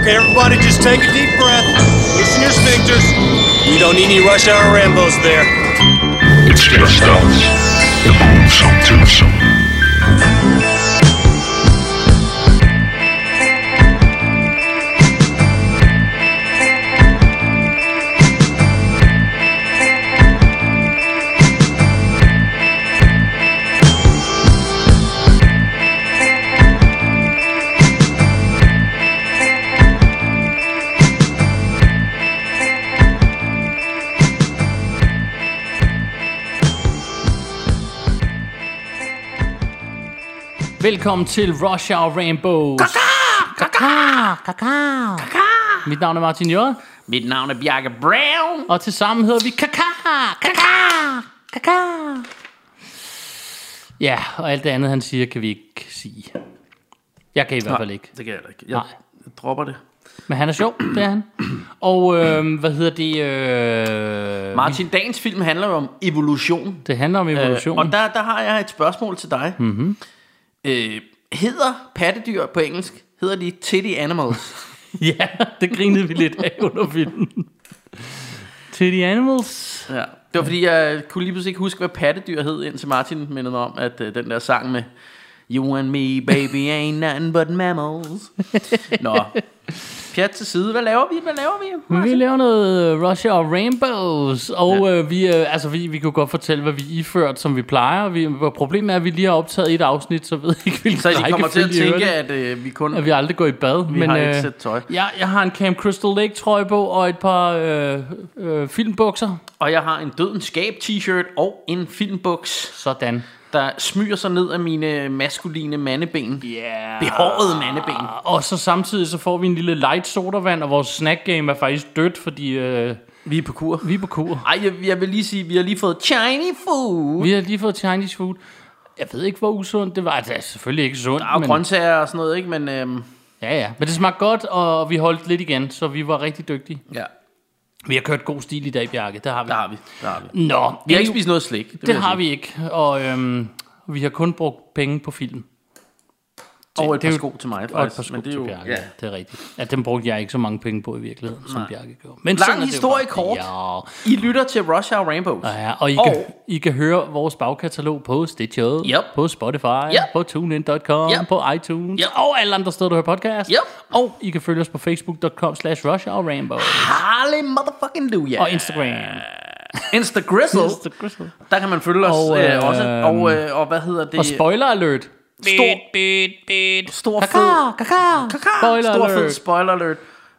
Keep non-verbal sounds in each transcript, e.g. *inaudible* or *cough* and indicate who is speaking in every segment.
Speaker 1: Okay, everybody, just take a deep breath. Loosen your sphincters. You don't need any rush hour Rambo's there.
Speaker 2: It's just us. The Boomsome Twosome.
Speaker 3: Velkommen til Rush Hour Rainbows. Mit navn er Martin J.
Speaker 4: Mit navn er Bjarke Brown.
Speaker 3: Og til sammen hedder vi Kaka. Kaka. Kaka. Ja, og alt det andet, han siger, kan vi ikke sige. Jeg kan i hvert fald ikke.
Speaker 4: Det kan jeg da ikke. Jeg, jeg dropper det.
Speaker 3: Men han er sjov, det er han. Og øh, hvad hedder det? Øh,
Speaker 4: Martin, dagens film handler jo om evolution. Øh,
Speaker 3: det handler om evolution.
Speaker 4: Og der, der har jeg et spørgsmål til dig. Mm-hmm. Øh, hedder pattedyr på engelsk, hedder de titty animals?
Speaker 3: *laughs* Ja, det grinede vi lidt af under filmen. Til the animals.
Speaker 4: *laughs* ja. Det var fordi, jeg kunne lige pludselig ikke huske, hvad pattedyr hed, indtil Martin mindede mig om, at øh, den der sang med You and me, baby, ain't nothing but *laughs* mammals. Nå, pjat til side. Hvad laver vi? Hvad laver vi?
Speaker 3: Vi
Speaker 4: Martin?
Speaker 3: laver noget øh, Russia og Rainbows, og ja. øh, vi, øh, altså, vi, vi kunne godt fortælle, hvad vi er iført, som vi plejer. Vi, og problemet er, at vi lige har optaget et afsnit, så ved jeg ikke, hvilken
Speaker 4: Så I kommer til at
Speaker 3: rækkefølge i
Speaker 4: tænke,
Speaker 3: øvrigt,
Speaker 4: at øh, vi kun...
Speaker 3: at vi aldrig går i bad.
Speaker 4: Vi har ikke set tøj.
Speaker 3: Jeg, jeg har en Camp Crystal Lake trøje på, og et par øh, øh, filmbukser.
Speaker 4: Og jeg har en dødens skab t-shirt og en filmbuks,
Speaker 3: Sådan.
Speaker 4: der smyger sig ned af mine maskuline mandeben.
Speaker 3: Yeah.
Speaker 4: Behårede mandeben.
Speaker 3: Og så samtidig så får vi en lille light sodavand, og vores snack game er faktisk dødt, fordi øh,
Speaker 4: Vi er på kur.
Speaker 3: vi er på kur.
Speaker 4: Ej, jeg, jeg vil lige sige, vi har lige fået shiny food.
Speaker 3: Vi har lige fået Chinese food. Jeg ved ikke, hvor usundt det var. Altså, Det er selvfølgelig ikke sundt.
Speaker 4: Og grøntsager og sådan noget, ikke? Men øhm,
Speaker 3: Ja, ja. Men det smagte godt, og vi holdt lidt igen, så vi var rigtig dygtige.
Speaker 4: ja,
Speaker 3: Vi har kørt god stil i dag, Bjarke. Det har vi.
Speaker 4: der har vi. Der har vi.
Speaker 3: Nå,
Speaker 4: Vi har ikke spist noget slik.
Speaker 3: det har vi ikke. Og øhm, vi har kun brugt penge på film.
Speaker 4: Og et
Speaker 3: Det er
Speaker 4: par
Speaker 3: jo-
Speaker 4: sko til mig, faktisk.
Speaker 3: Og et par sko
Speaker 4: men det er jo,
Speaker 3: til Bjarke.
Speaker 4: ja.
Speaker 3: Det er rigtigt. Ja, dem brugte jeg ikke så mange penge på i virkeligheden, som Bjarke gjorde. Men
Speaker 4: Lang
Speaker 3: sådan er det jo
Speaker 4: historie
Speaker 3: bare.
Speaker 4: kort.
Speaker 3: Ja.
Speaker 4: I lytter til Rush Hour Rainbows.
Speaker 3: Og, ja, og I,
Speaker 4: Og-
Speaker 3: kan, I kan høre vores bagkatalog på Stitcher,
Speaker 4: Yep.
Speaker 3: på Spotify,
Speaker 4: Yep.
Speaker 3: på TuneIn.com,
Speaker 4: Yep.
Speaker 3: på iTunes
Speaker 4: Yep.
Speaker 3: og alle andre steder, du hører podcast.
Speaker 4: Yep.
Speaker 3: Og I kan følge os på facebook.com slash rush og rainbow
Speaker 4: Harley motherfucking do, ja.
Speaker 3: og Instagram.
Speaker 4: Instagrizzle. Der kan man følge os
Speaker 3: Og,
Speaker 4: og, øh, også.
Speaker 3: øhm,
Speaker 4: Og, øh, og hvad hedder det?
Speaker 3: Og spoiler alert.
Speaker 4: Stor- Stor fed,
Speaker 3: Spoiler
Speaker 4: Spoiler stor fed
Speaker 3: alert.
Speaker 4: spoiler alert.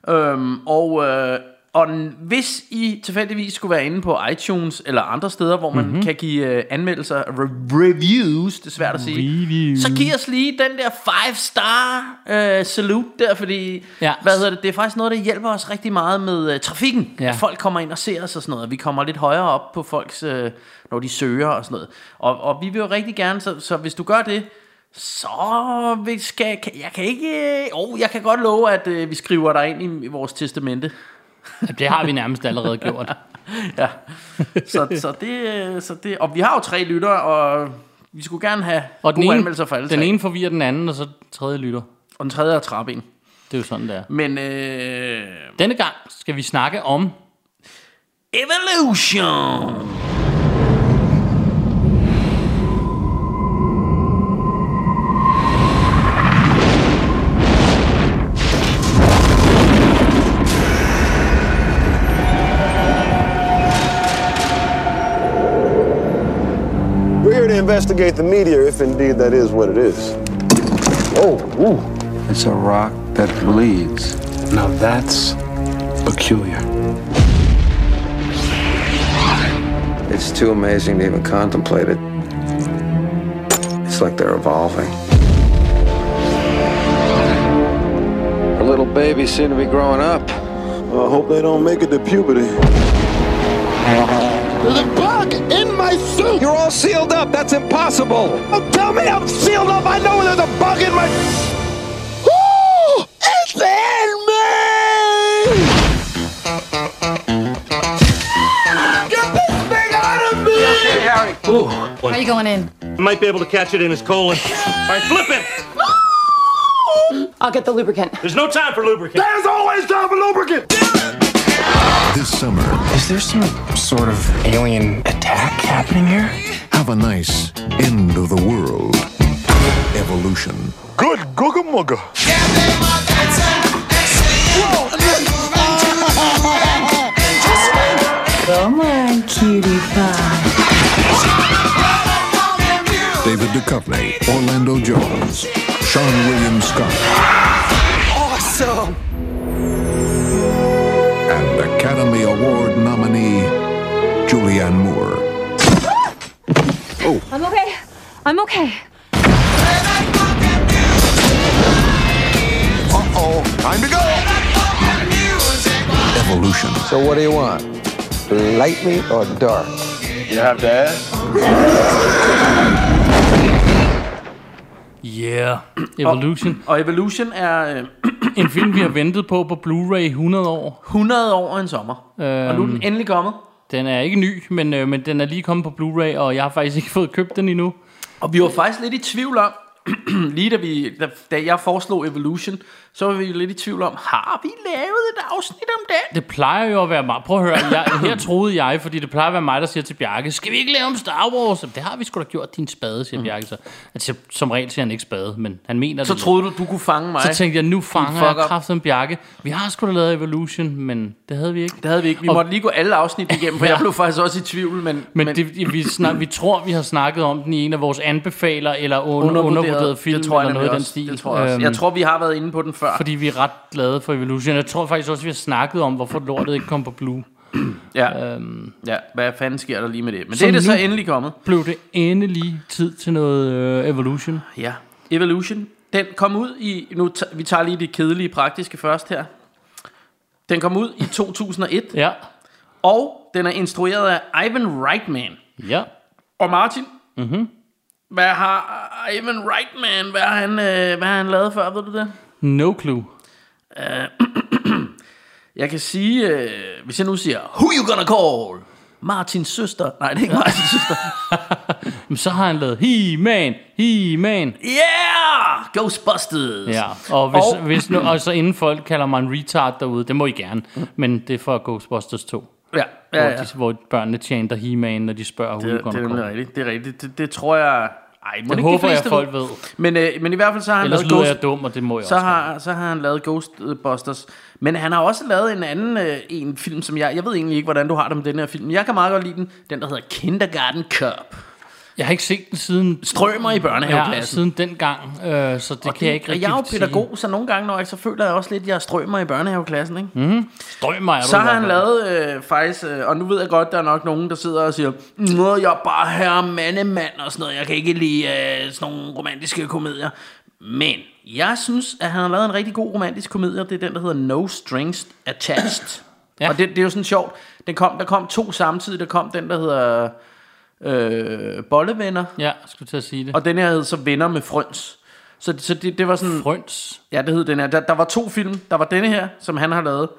Speaker 4: Øhm, og, øh, og n- hvis I tilfældigvis skulle være inde på iTunes eller andre steder, hvor man mm-hmm. kan give øh, anmeldelser, re- reviews, det er svært at sige,
Speaker 3: Reviews.
Speaker 4: så giv os lige den der five star øh, salute der, fordi
Speaker 3: Ja.
Speaker 4: ja. hvad hedder det, det er faktisk noget, der hjælper os rigtig meget med øh, trafikken.
Speaker 3: Ja.
Speaker 4: Ja. At folk kommer ind og ser os og sådan noget, og vi kommer lidt højere op på folks, øh, når de søger og sådan noget. Og, og vi vil jo rigtig gerne, så, så hvis du gør det, så vi skal kan, jeg kan ikke... Øh, oh, jeg kan godt love, at øh, vi skriver dig ind i, i vores testamente.
Speaker 3: Det har vi nærmest allerede gjort.
Speaker 4: Ja.
Speaker 3: *laughs*
Speaker 4: Så, så, det, øh, så det... Og vi har jo tre lyttere, og vi skulle gerne have
Speaker 3: Og den
Speaker 4: gode
Speaker 3: ene,
Speaker 4: anmeldelser for alle
Speaker 3: den
Speaker 4: tre.
Speaker 3: ene forvirrer den anden, og så den tredje lytter.
Speaker 4: Og den tredje er trappen.
Speaker 3: Det er jo sådan, det er.
Speaker 4: Men øh,
Speaker 3: Denne gang skal vi snakke om...
Speaker 4: Evolution!
Speaker 5: We're here to investigate the meteor, if indeed that is what it is. Oh,
Speaker 6: It's a rock that bleeds. Now that's peculiar.
Speaker 7: It's too amazing to even contemplate it. It's like they're evolving.
Speaker 6: Our little babies seem to be growing up.
Speaker 5: I hope they don't make it to puberty.
Speaker 6: There's a bug in my suit! You're all sealed up. That's impossible. Don't Oh, tell me I'm sealed up. I know there's a bug in my. *gasps* Ooh, it's in me! Get this thing out of me!
Speaker 8: How you going in?
Speaker 1: Might be able to catch it in his colon. All right, flip him!
Speaker 8: I'll get the lubricant.
Speaker 9: There's no time for lubricant.
Speaker 6: There's always time for lubricant.
Speaker 10: This summer,
Speaker 1: Is there some sort of alien attack happening here?
Speaker 10: have a nice end of the world evolution.
Speaker 6: Good Googa Mugga.
Speaker 10: David Duchovny, Orlando Jones, Sean William Scott. Awesome! And Academy Award nominee Julianne Moore.
Speaker 8: I'm okay. I'm okay.
Speaker 6: Uh-oh, time to go.
Speaker 10: Evolution.
Speaker 7: So what do you want? Lightly or dark?
Speaker 3: Yeah, Evolution.
Speaker 4: Og Evolution er øh,
Speaker 3: En film, vi har ventet på på Blu-ray i 100 år.
Speaker 4: 100 år og en sommer. Øhm. Og nu er den endelig kommet.
Speaker 3: Den er ikke ny, men, øh, men den er lige kommet på Blu-ray, og jeg har faktisk ikke *laughs* fået købt den endnu.
Speaker 4: Og vi var faktisk lidt i tvivl om, *clears throat* lige da, vi, da, da jeg foreslog Evolution, så var vi lidt i tvivl om, har vi lavet et afsnit om den?
Speaker 3: Det plejer jo at være mig. Prøv at høre, jeg, her troede jeg, fordi det plejer at være mig, der siger til Bjarke, skal vi ikke lave om Star Wars? Jamen, Det har vi sgu da gjort, din spade, siger Bjarke så. Altså, som regel siger han ikke spade, men han mener
Speaker 4: Mm. Så
Speaker 3: det.
Speaker 4: troede du, du kunne fange mig.
Speaker 3: Så tænkte jeg, nu fanger
Speaker 4: fuck
Speaker 3: jeg
Speaker 4: up.
Speaker 3: kraften Bjarke. Vi har sgu da lavet Evolution, men det havde vi ikke.
Speaker 4: det havde vi ikke. Vi
Speaker 3: Og-
Speaker 4: måtte lige gå alle afsnit igennem,
Speaker 3: *laughs*
Speaker 4: for
Speaker 3: Ja.
Speaker 4: jeg blev faktisk også i tvivl. Men,
Speaker 3: Men, men det, vi, snak, vi tror, vi har snakket om den i en af vores anbefaler eller under, undervurderet film,
Speaker 4: det tror jeg
Speaker 3: eller noget i
Speaker 4: nemlig
Speaker 3: den
Speaker 4: også.
Speaker 3: stil.
Speaker 4: Det tror jeg, også.
Speaker 3: Øhm,
Speaker 4: jeg tror, vi har været inde på den før.
Speaker 3: Fordi vi er ret glade for Evolution. Jeg tror faktisk også, vi har snakket om, hvorfor lortet ikke kom på Blue.
Speaker 4: ja. ja, hvad fanden sker der lige med det? Men
Speaker 3: Så
Speaker 4: det er det så
Speaker 3: øhm. nu-
Speaker 4: endelig kommet.
Speaker 3: Blev det endelig tid til noget øh, Evolution?
Speaker 4: Ja, Evolution. Den kom ud i, nu t- vi tager lige det kedelige praktiske først her. Den
Speaker 3: *laughs*
Speaker 4: kom ud i 2001,
Speaker 3: Ja.
Speaker 4: og den er instrueret af Ivan Reitman.
Speaker 3: Ja.
Speaker 4: Og Martin, mm-hmm.
Speaker 3: Mhm.
Speaker 4: hvad har øh, Ivan Reitman, hvad har han, øh, hvad har han lavet før, ved du det?
Speaker 3: No clue.
Speaker 4: Jeg kan sige, øh, hvis jeg nu siger, who you gonna call? Martins søster. Nej,
Speaker 3: *laughs*
Speaker 4: det er ikke Martins søster.
Speaker 3: Men så har han lavet He-Man, He-Man.
Speaker 4: Yeah! Ghostbusters!
Speaker 3: Ja, og, hvis,
Speaker 4: Og-
Speaker 3: og... Hvis nu, og så inden folk kalder mig en retard derude, det må I gerne. Men det er for Ghostbusters 2,
Speaker 4: Mm. Ja,
Speaker 3: ja, ja.
Speaker 4: ja, ja.
Speaker 3: Hvor, de, hvor børnene chanter He-Man, når de spørger, hvor
Speaker 4: Det, det er nemlig rigtigt. Det er rigtigt. Det, det tror jeg... Ej, må
Speaker 3: Det
Speaker 4: ikke de
Speaker 3: håber jeg,
Speaker 4: fleste
Speaker 3: folk ved.
Speaker 4: Men, øh, men i hvert fald så har han
Speaker 3: Ellers
Speaker 4: lavet
Speaker 3: lyder
Speaker 4: Ghost,
Speaker 3: jeg dum, og det må jeg
Speaker 4: så
Speaker 3: også. gerne.
Speaker 4: har, så har han lavet Ghostbusters. Men han har også lavet en anden øh, en film, som jeg... Jeg ved egentlig ikke, hvordan du har det med den her film. Men jeg kan meget godt lide den. Den, der hedder Kindergarten Cup.
Speaker 3: Jeg har ikke set den siden...
Speaker 4: Strømmer i
Speaker 3: Ja,
Speaker 4: børnehaveklassen.
Speaker 3: siden dengang, øh, så det
Speaker 4: Og
Speaker 3: kan jeg ikke
Speaker 4: og
Speaker 3: rigtig
Speaker 4: jeg er jo
Speaker 3: sige.
Speaker 4: pædagog, så nogle gange, når jeg, så føler jeg også lidt, at jeg strømmer i børnehaveklassen, ikke?
Speaker 3: Strømmer er du
Speaker 4: Så har
Speaker 3: i
Speaker 4: han
Speaker 3: hvert fald.
Speaker 4: lavet øh, faktisk, øh, og nu ved jeg godt, der er nok nogen, der sidder og siger, Nå, jeg er bare herre mandemand og sådan noget, jeg kan ikke lide øh, sådan nogle romantiske komedier. Men jeg synes, at han har lavet en rigtig god romantisk komedie, og det er den, der hedder No Strings Attached.
Speaker 3: *clears throat*
Speaker 4: ja.
Speaker 3: Ja.
Speaker 4: Og det, det er jo sådan sjovt, den kom, der kom to samtidig, der kom den, der hedder øh, Bollevenner,
Speaker 3: Ja, jeg skulle til at sige det.
Speaker 4: og den her hed så Venner med Frøns. Så, så det, det var sådan...
Speaker 3: Frøns.
Speaker 4: Ja, det hed den her. Der, der var to film. Der var denne her, som han har lavet,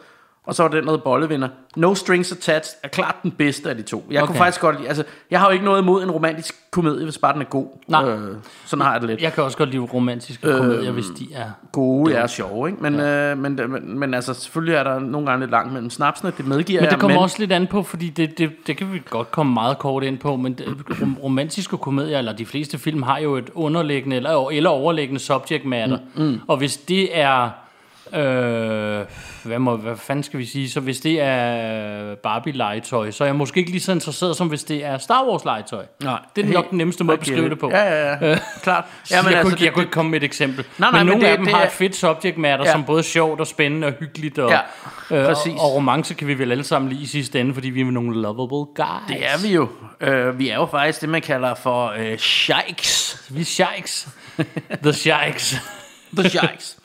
Speaker 4: og så var den, der hed Bollevinder. No Strings Attached er klart den bedste af de to. Jeg okay. kunne
Speaker 3: Okay.
Speaker 4: faktisk godt lide, altså, jeg har jo ikke noget imod en romantisk komedie, hvis bare den er god.
Speaker 3: Nej.
Speaker 4: Øh, sådan har jeg det lidt.
Speaker 3: Jeg kan også godt lide romantiske øh, komedier, hvis de er...
Speaker 4: Gode er sjove, ikke? Men, ja. øh, men, men, men altså, selvfølgelig er der nogle gange lidt langt mellem snapsene, det medgiver
Speaker 3: Men
Speaker 4: jeg.
Speaker 3: det kommer også lidt an på, fordi det, det, det kan vi godt komme meget kort ind på, men det, rom- romantiske komedier, eller de fleste film, har jo et underliggende eller, eller overliggende subject matter. Mm, mm. Og hvis det er... Øh, hvad, må, hvad fanden skal vi sige? Så hvis det er Barbie-legetøj, så er jeg måske ikke lige så interesseret, som hvis det er Star Wars-legetøj.
Speaker 4: Nej.
Speaker 3: Det er nok den nemmeste måde at
Speaker 4: I get
Speaker 3: beskrive
Speaker 4: it.
Speaker 3: det på.
Speaker 4: Ja, ja, ja.
Speaker 3: *laughs*
Speaker 4: Klart.
Speaker 3: Ja,
Speaker 4: Ja,
Speaker 3: men
Speaker 4: men
Speaker 3: jeg,
Speaker 4: altså,
Speaker 3: kunne, ikke- jeg
Speaker 4: det-
Speaker 3: kunne ikke komme med et eksempel.
Speaker 4: nej,
Speaker 3: men,
Speaker 4: men
Speaker 3: nogle
Speaker 4: det-
Speaker 3: af dem
Speaker 4: det
Speaker 3: har
Speaker 4: er-
Speaker 3: et fedt subject matter,
Speaker 4: Ja.
Speaker 3: som både er sjovt og spændende og hyggeligt. Og,
Speaker 4: Ja,
Speaker 3: øh,
Speaker 4: præcis.
Speaker 3: og, og romance kan vi vel alle sammen lige i sidste ende, fordi vi er nogle lovable guys.
Speaker 4: Det er vi jo. Øh, vi er jo faktisk det, man kalder for øh, shikes.
Speaker 3: Vi er shikes. The
Speaker 4: *laughs*
Speaker 3: shikes.
Speaker 4: The Sharks.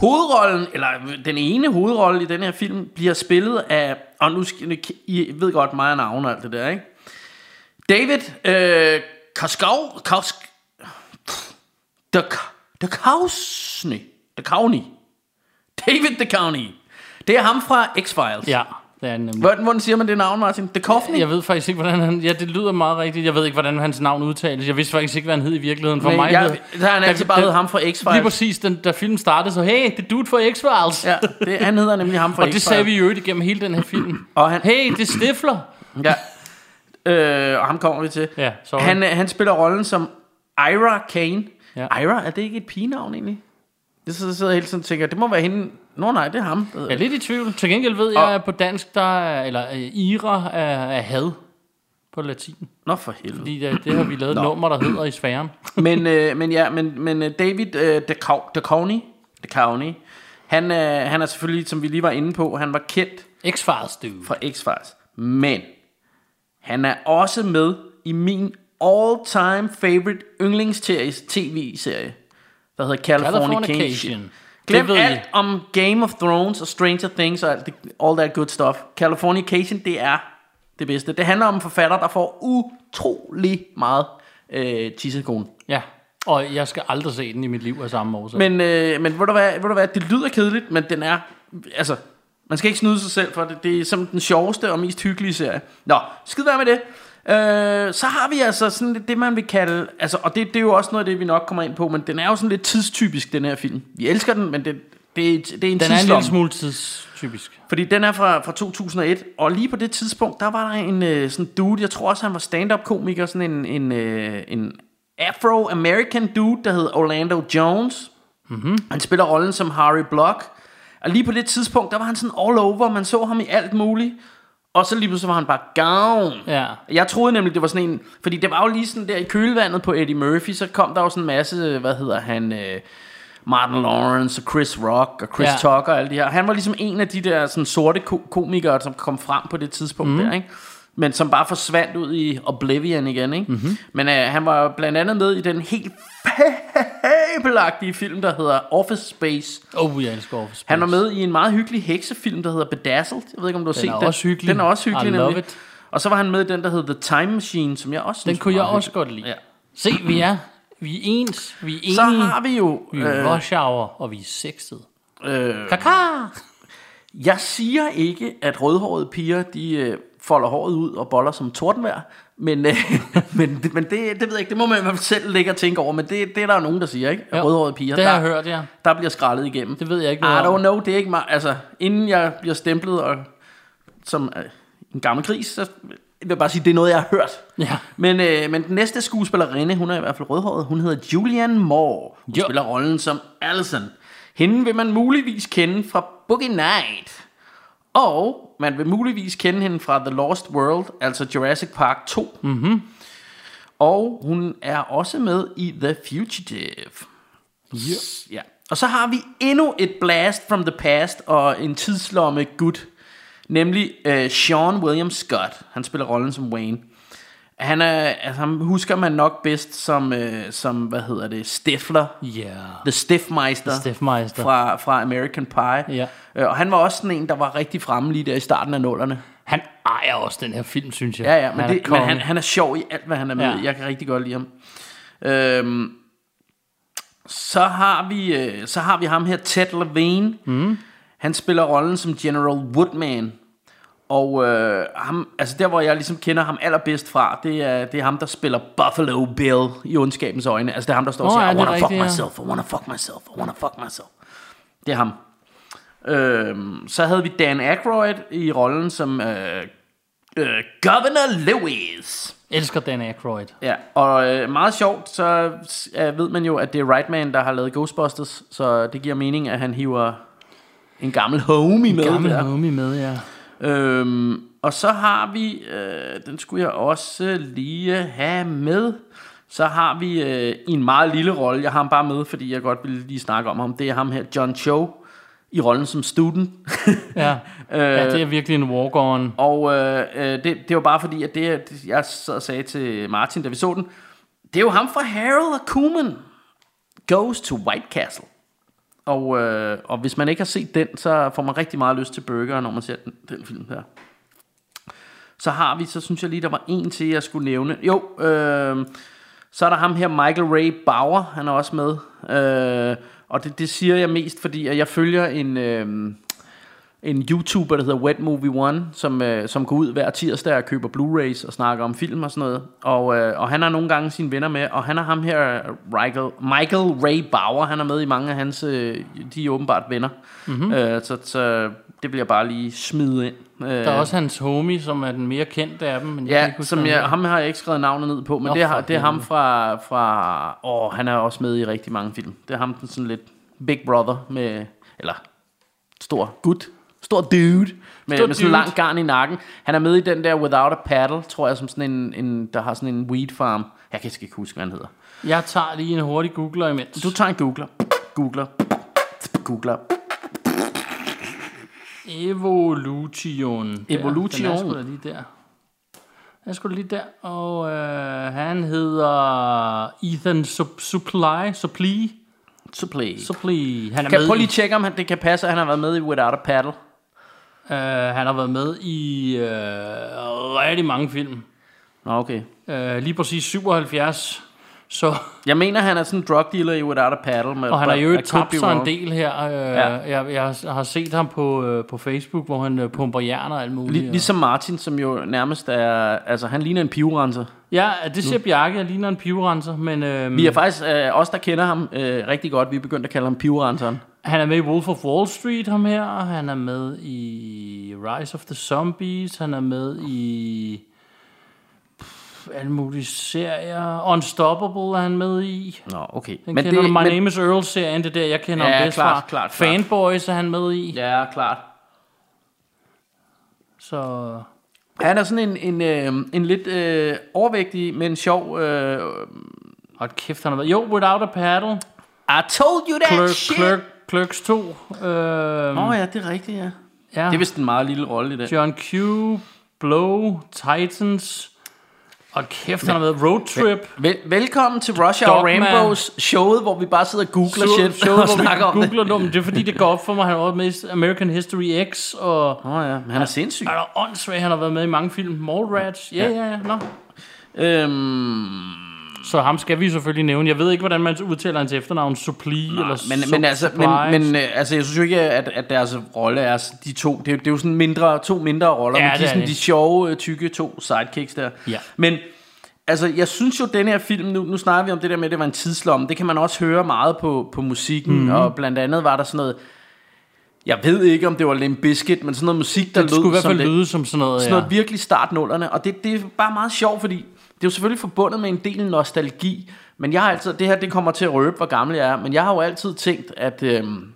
Speaker 4: Hovedrollen, eller den ene hovedrolle i den her film, bliver spillet af, og nu skal I ved godt mig og navn og alt det der, ikke? David øh, Koskov, Kosk, The, the Kausny, The County. David The County. Det er ham fra X-Files.
Speaker 3: ja. Det er den nemlig.
Speaker 4: Hvordan, hvordan siger man det navn, Martin? The Coffin?
Speaker 3: Jeg ved faktisk ikke, hvordan han... Ja, det lyder meget rigtigt. Jeg ved ikke, hvordan hans navn udtales. Jeg vidste faktisk ikke, hvad han hed i virkeligheden. For
Speaker 4: Nej,
Speaker 3: mig
Speaker 4: jeg-
Speaker 3: hed-
Speaker 4: der har han
Speaker 3: da-
Speaker 4: altid bare
Speaker 3: da-
Speaker 4: hed ham fra X-Files.
Speaker 3: Lige præcis, den, da filmen startede, så hey, det er dude fra X-Files.
Speaker 4: Ja, det, han hedder nemlig ham
Speaker 3: *laughs*
Speaker 4: fra
Speaker 3: og det
Speaker 4: X-Files.
Speaker 3: sagde vi jo ikke igennem hele den her film.
Speaker 4: Og han-
Speaker 3: Hey, det er stifler.
Speaker 4: Ja. Øh, og ham kommer vi til.
Speaker 3: Ja, sorry.
Speaker 4: han, øh, han spiller rollen som Ira Kane.
Speaker 3: Ja.
Speaker 4: Ja. Ira, er det ikke et pigenavn egentlig? Det sidder, sidder jeg hele tiden og tænker, det må være hende. Nå nej, det er ham. der hedder-
Speaker 3: Jeg er lidt i tvivl. Til gengæld ved jeg, at på dansk, der er, eller øh, ira er, er had på latin.
Speaker 4: Nå for helvede.
Speaker 3: Fordi det, det har vi lavet et nummer, der hedder i sfæren.
Speaker 4: men, øh, men ja, men, men øh, David øh, DeCowney, DeCowney han, øh, han er selvfølgelig, som vi lige var inde på, han var kendt
Speaker 3: X-Files, dude.
Speaker 4: fra X-Files. Men han er også med i min all-time favorite yndlingstv tv-serie, der hedder Californication.
Speaker 3: Californication.
Speaker 4: Glem
Speaker 3: Det ved
Speaker 4: alt
Speaker 3: I.
Speaker 4: om Game of Thrones og Stranger Things og alt det, all that good stuff. Californication, det er det bedste. Det handler om en forfatter, der får utrolig meget øh, tissekone.
Speaker 3: Ja, og jeg skal aldrig se den i mit liv af samme årsag.
Speaker 4: Men, øh, men ved, du hvad, ved du hvad, det lyder kedeligt, men den er, altså, man skal ikke snyde sig selv for det. Det er som den sjoveste og mest hyggelige serie. Nå, skid være med det. Øh, så har vi altså sådan lidt det, man vil kalde, altså, og det, det er jo også noget af det, vi nok kommer ind på, men den er jo sådan lidt tidstypisk, den her film. Vi elsker den, men det, det, det er en
Speaker 3: den er en
Speaker 4: tidslomme.
Speaker 3: lille smule tidstypisk.
Speaker 4: Fordi den er fra, fra 2001, og lige på det tidspunkt, der var der en øh, sådan dude, jeg tror også han var stand-up komiker, sådan en, en, øh, en afro-american dude, der hed Orlando Jones. Mm-hmm. Han spiller rollen som Harry Block. Og lige på det tidspunkt, der var han sådan all over, man så ham i alt muligt. Og så lige pludselig var han bare gone.
Speaker 3: Ja.
Speaker 4: Jeg troede nemlig, det var sådan en... Fordi det var jo lige sådan der i kølevandet på Eddie Murphy, så kom der jo sådan en masse, hvad hedder han... Øh, Martin Lawrence og Chris Rock og Chris
Speaker 3: Ja.
Speaker 4: ja. Tucker og alle de her. Han var ligesom en af de der sådan, sorte ko- komikere, som kom frem på det tidspunkt mm. der, ikke? Men som bare forsvandt ud i Oblivion igen, ikke? Mm-hmm. Men øh, han var blandt andet med i den helt *laughs* fabelagtige film, der hedder Office Space.
Speaker 3: Oh, jeg elsker Office Space.
Speaker 4: Han var med i en meget hyggelig heksefilm, der hedder Bedazzled. Jeg ved ikke, om du har set
Speaker 3: er
Speaker 4: den.
Speaker 3: også hyggelig.
Speaker 4: Den er også hyggelig,
Speaker 3: I love
Speaker 4: nemlig.
Speaker 3: it.
Speaker 4: Og så var han med i den, der hedder The Time Machine, som jeg også
Speaker 3: Den
Speaker 4: synes
Speaker 3: kunne
Speaker 4: var
Speaker 3: jeg
Speaker 4: meget
Speaker 3: også godt lide.
Speaker 4: Ja.
Speaker 3: Ja. Se, vi er, vi er ens, vi er enige,
Speaker 4: Så har vi jo...
Speaker 3: vi er
Speaker 4: Øh,
Speaker 3: rush hour, og vi er sexede.
Speaker 4: øh,
Speaker 3: Kaka!
Speaker 4: jeg siger ikke, at rødhårede piger, de øh, folder håret ud og boller som tordenvejr. Men, øh, *laughs* men, det- men det, det ved jeg ikke, det må man i hvert fald selv ligge og tænke over. Men det, det er der jo nogen, der siger, ikke? At
Speaker 3: Jo,
Speaker 4: rødhårede piger,
Speaker 3: det
Speaker 4: der,
Speaker 3: har jeg hørt, ja.
Speaker 4: der bliver skrællet igennem.
Speaker 3: Det ved jeg ikke
Speaker 4: I
Speaker 3: noget om.
Speaker 4: don't know, det er ikke mig. Altså, inden jeg bliver stemplet og, som øh, en gammel gris, så vil jeg bare sige, det er noget, jeg har hørt.
Speaker 3: Ja.
Speaker 4: Men, øh, men den næste skuespillerinde, hun er i hvert fald rødhåret, hun hedder Julianne Moore. Hun
Speaker 3: Jo.
Speaker 4: jo. spiller rollen som Allison. Hende vil man muligvis kende fra Boogie Night. Og man vil muligvis kende hende fra The Lost World, altså Jurassic Park 2. Mm-hmm.
Speaker 3: Mhm.
Speaker 4: Og hun er også med i The Fugitive. Ja. Og så har vi endnu et blast from the past og en tidslomme gut, nemlig øh, Sean William Scott. Han spiller rollen som Wayne. Han er, altså, ham husker man nok bedst som, øh, som hvad hedder det, Stifler.
Speaker 3: Ja.
Speaker 4: The Stiffmeister.
Speaker 3: Stiffmeister.
Speaker 4: Fra, fra American Pie.
Speaker 3: Ja.
Speaker 4: Øh, og han var også sådan en, der var rigtig fremme lige der i starten af nullerne.
Speaker 3: Han ejer også den her film, synes jeg.
Speaker 4: Ja, ja, men,
Speaker 3: han
Speaker 4: han,
Speaker 3: er
Speaker 4: det, men
Speaker 3: konge.
Speaker 4: han, han er sjov i alt, hvad han er med
Speaker 3: Ja.
Speaker 4: ja. Jeg kan rigtig godt lide ham. Øhm, så, har vi, øh, så har vi ham her, Ted Levine. Mm. Han spiller rollen som General Woodman. Og øh, ham, altså der, hvor jeg ligesom kender ham allerbedst fra, det er, det er ham, der spiller Buffalo Bill i ondskabens øjne. Altså det er ham, der står og
Speaker 3: Nå,
Speaker 4: siger,
Speaker 3: ja,
Speaker 4: I
Speaker 3: det er
Speaker 4: wanna fuck
Speaker 3: rigtigt, ja.
Speaker 4: myself, I wanna fuck myself, I wanna fuck myself. Det er ham. Øhm, så havde vi Dan Aykroyd i rollen som øh, øh, Governor Lewis.
Speaker 3: Elsker Dan Aykroyd.
Speaker 4: Ja, og øh, meget sjovt, så øh, ved man jo, at det er Rightman, der har lavet Ghostbusters, så det giver mening, at han hiver en gammel homie med.
Speaker 3: Gammel
Speaker 4: der.
Speaker 3: homie med, ja.
Speaker 4: Øhm, og så har vi, øh, den skulle jeg også lige have med, så har vi øh, i en meget lille rolle, jeg har ham bare med, fordi jeg godt ville lige snakke om ham, det er ham her, John Cho, i rollen som student. *laughs*
Speaker 3: Ja. ja, det er virkelig en walk-on.
Speaker 4: og øh, øh, det, det var bare fordi, at det, at jeg sad og sagde til Martin, da vi så den, det er jo ham fra Harold og Kuman, Goes to White Castle. Og, øh, og hvis man ikke har set den, så får man rigtig meget lyst til burger, når man ser den, den film her. Så har vi, så synes jeg lige, der var en til, jeg skulle nævne. Jo, øh, så er der ham her, Michael Ray Bauer, han er også med. Øh, og det, det siger jeg mest, fordi at jeg følger en, øh, en YouTuber, der hedder Wet Movie One, som, øh, som går ud hver tirsdag og køber Blu-rays og snakker om film og sådan noget. Og, øh, og han har nogle gange sine venner med, og han har ham her, øh, Michael, Michael Ray Bauer, han er med i mange af hans, øh, de er åbenbart venner. Mm-hmm. Øh, så, så det bliver bare lige smidt ind. Øh,
Speaker 3: Mhm. Der er også hans homie, som er den mere kendte af dem. Men jeg kan
Speaker 4: Ja,
Speaker 3: ikke huske,
Speaker 4: som
Speaker 3: hvad han
Speaker 4: jeg,
Speaker 3: hedder.
Speaker 4: ham har jeg ikke skrevet navnet ned på, men
Speaker 3: Nå,
Speaker 4: det, er,
Speaker 3: for
Speaker 4: det er ham fra, fra... Åh, han er også med i rigtig mange film. Det er ham den sådan lidt Big Brother med... Eller stor gut. Stor dude. Med,
Speaker 3: Stor
Speaker 4: med sådan en
Speaker 3: dude.
Speaker 4: lang garn i nakken. Han er med i den der Without a Paddle, tror jeg, som sådan en, en der har sådan en weed farm. Jeg kan sgu ikke huske, hvad han hedder.
Speaker 3: Jeg tager lige en hurtig googler imens.
Speaker 4: Du tager en googler. Googler. Googler.
Speaker 3: Evolution.
Speaker 4: Evolution.
Speaker 3: Der. Den er sgu da lige der. Den er sgu da lige der. Og øh, han hedder Ethan Sup- Supply. Supply.
Speaker 4: Supply.
Speaker 3: Supply. Han er
Speaker 4: Kan
Speaker 3: med
Speaker 4: prøv lige
Speaker 3: i,
Speaker 4: at tjekke, om han, det kan passe, at han har været med i Without a Paddle.
Speaker 3: øh, han har været med i øh, rigtig mange film.
Speaker 4: Nå, okay.
Speaker 3: Øh, lige præcis 77. Så,
Speaker 4: Jeg mener, han er sådan en drug dealer i Without a Paddle. Med,
Speaker 3: og han har jo
Speaker 4: but
Speaker 3: ikke
Speaker 4: I could
Speaker 3: tabt
Speaker 4: be
Speaker 3: sig en
Speaker 4: wrong.
Speaker 3: del her. Øh, ja. jeg, jeg har- har set ham på, øh, på Facebook, hvor han øh, pumper jern og alt muligt.
Speaker 4: Lig,
Speaker 3: og-
Speaker 4: ligesom Martin, som jo nærmest er... Altså, han ligner en pivrenser.
Speaker 3: Ja, det siger Bjarke. Jeg ligner en pivrenser, men øh,
Speaker 4: Vi er faktisk... Øh, os, der kender ham øh, rigtig godt, vi er begyndt at kalde ham pivrenseren.
Speaker 3: han er med i Wolf of Wall Street, ham her. og Han er med i Rise of the Zombies. Han er med i pff, alle mulige serier. Unstoppable er han med i.
Speaker 4: Nå, okay.
Speaker 3: Den men kender det, du. My men... Name is Earl-serien, det er der, jeg kender
Speaker 4: Ja,
Speaker 3: ham bedst
Speaker 4: klart,
Speaker 3: fra.
Speaker 4: klart, klart.
Speaker 3: Fanboys er han med i. Ja.
Speaker 4: Ja, klart.
Speaker 3: Så
Speaker 4: Han er sådan en, en, øh, en lidt øh, overvægtig, men sjov... Øh,
Speaker 3: Hold kæft, han har været... Jo, Without a Paddle.
Speaker 4: I told you that
Speaker 3: Clerk,
Speaker 4: shit!
Speaker 3: Clerk, Clerks 2. Øhm,
Speaker 4: Nå ja, det er rigtigt, ja.
Speaker 3: ja.
Speaker 4: Det er vist en meget lille rolle i det.
Speaker 3: John Q, Blow, Titans. Hold kæft, han har været Road Trip.
Speaker 4: Vel, velkommen til Russia og
Speaker 3: Dogma.
Speaker 4: Rambos showet, hvor vi bare sidder og googler
Speaker 3: Show-
Speaker 4: shit *laughs*
Speaker 3: show,
Speaker 4: og
Speaker 3: hvor vi
Speaker 4: snakker om det.
Speaker 3: googler det. det er fordi, det går op for mig. Han har været med i American History X, og
Speaker 4: Nå ja, men han er sindssyg.
Speaker 3: er der åndssvagt, han har været med i mange film. Mallrats, ja, ja, ja, nå.
Speaker 4: Øhm,
Speaker 3: Så ham skal vi selvfølgelig nævne. Jeg ved ikke, hvordan man udtaler hans efternavn. Supply Nej, eller
Speaker 4: men,
Speaker 3: Sup-
Speaker 4: men, altså,
Speaker 3: Supplies.
Speaker 4: men, men øh, altså, jeg synes jo ikke, at, at deres rolle er s- de to. Det er, det er jo sådan mindre, to mindre roller,
Speaker 3: Ja,
Speaker 4: ja,
Speaker 3: det
Speaker 4: men de,
Speaker 3: er
Speaker 4: er sådan,
Speaker 3: det.
Speaker 4: de sjove, øh, tykke to sidekicks der.
Speaker 3: Ja.
Speaker 4: Men altså, jeg synes jo, den her film, nu, nu snakker vi om det der med, at det var en tidslomme. Det kan man også høre meget på, på musikken,
Speaker 3: Mhm.
Speaker 4: mm-hmm. og blandt andet var der sådan noget, jeg ved ikke, om det var Limp Bizkit, men sådan noget musik, der
Speaker 3: det
Speaker 4: lød
Speaker 3: skulle i hvert
Speaker 4: som
Speaker 3: fald
Speaker 4: det-
Speaker 3: lyde som sådan noget,
Speaker 4: sådan noget
Speaker 3: ja.
Speaker 4: virkelig startnullerne, og det, det er bare meget sjovt, fordi det er jo selvfølgelig forbundet med en del nostalgi, men jeg har altid, det her det kommer til at røbe, hvor gammel jeg er, men jeg har jo altid tænkt, at øhm,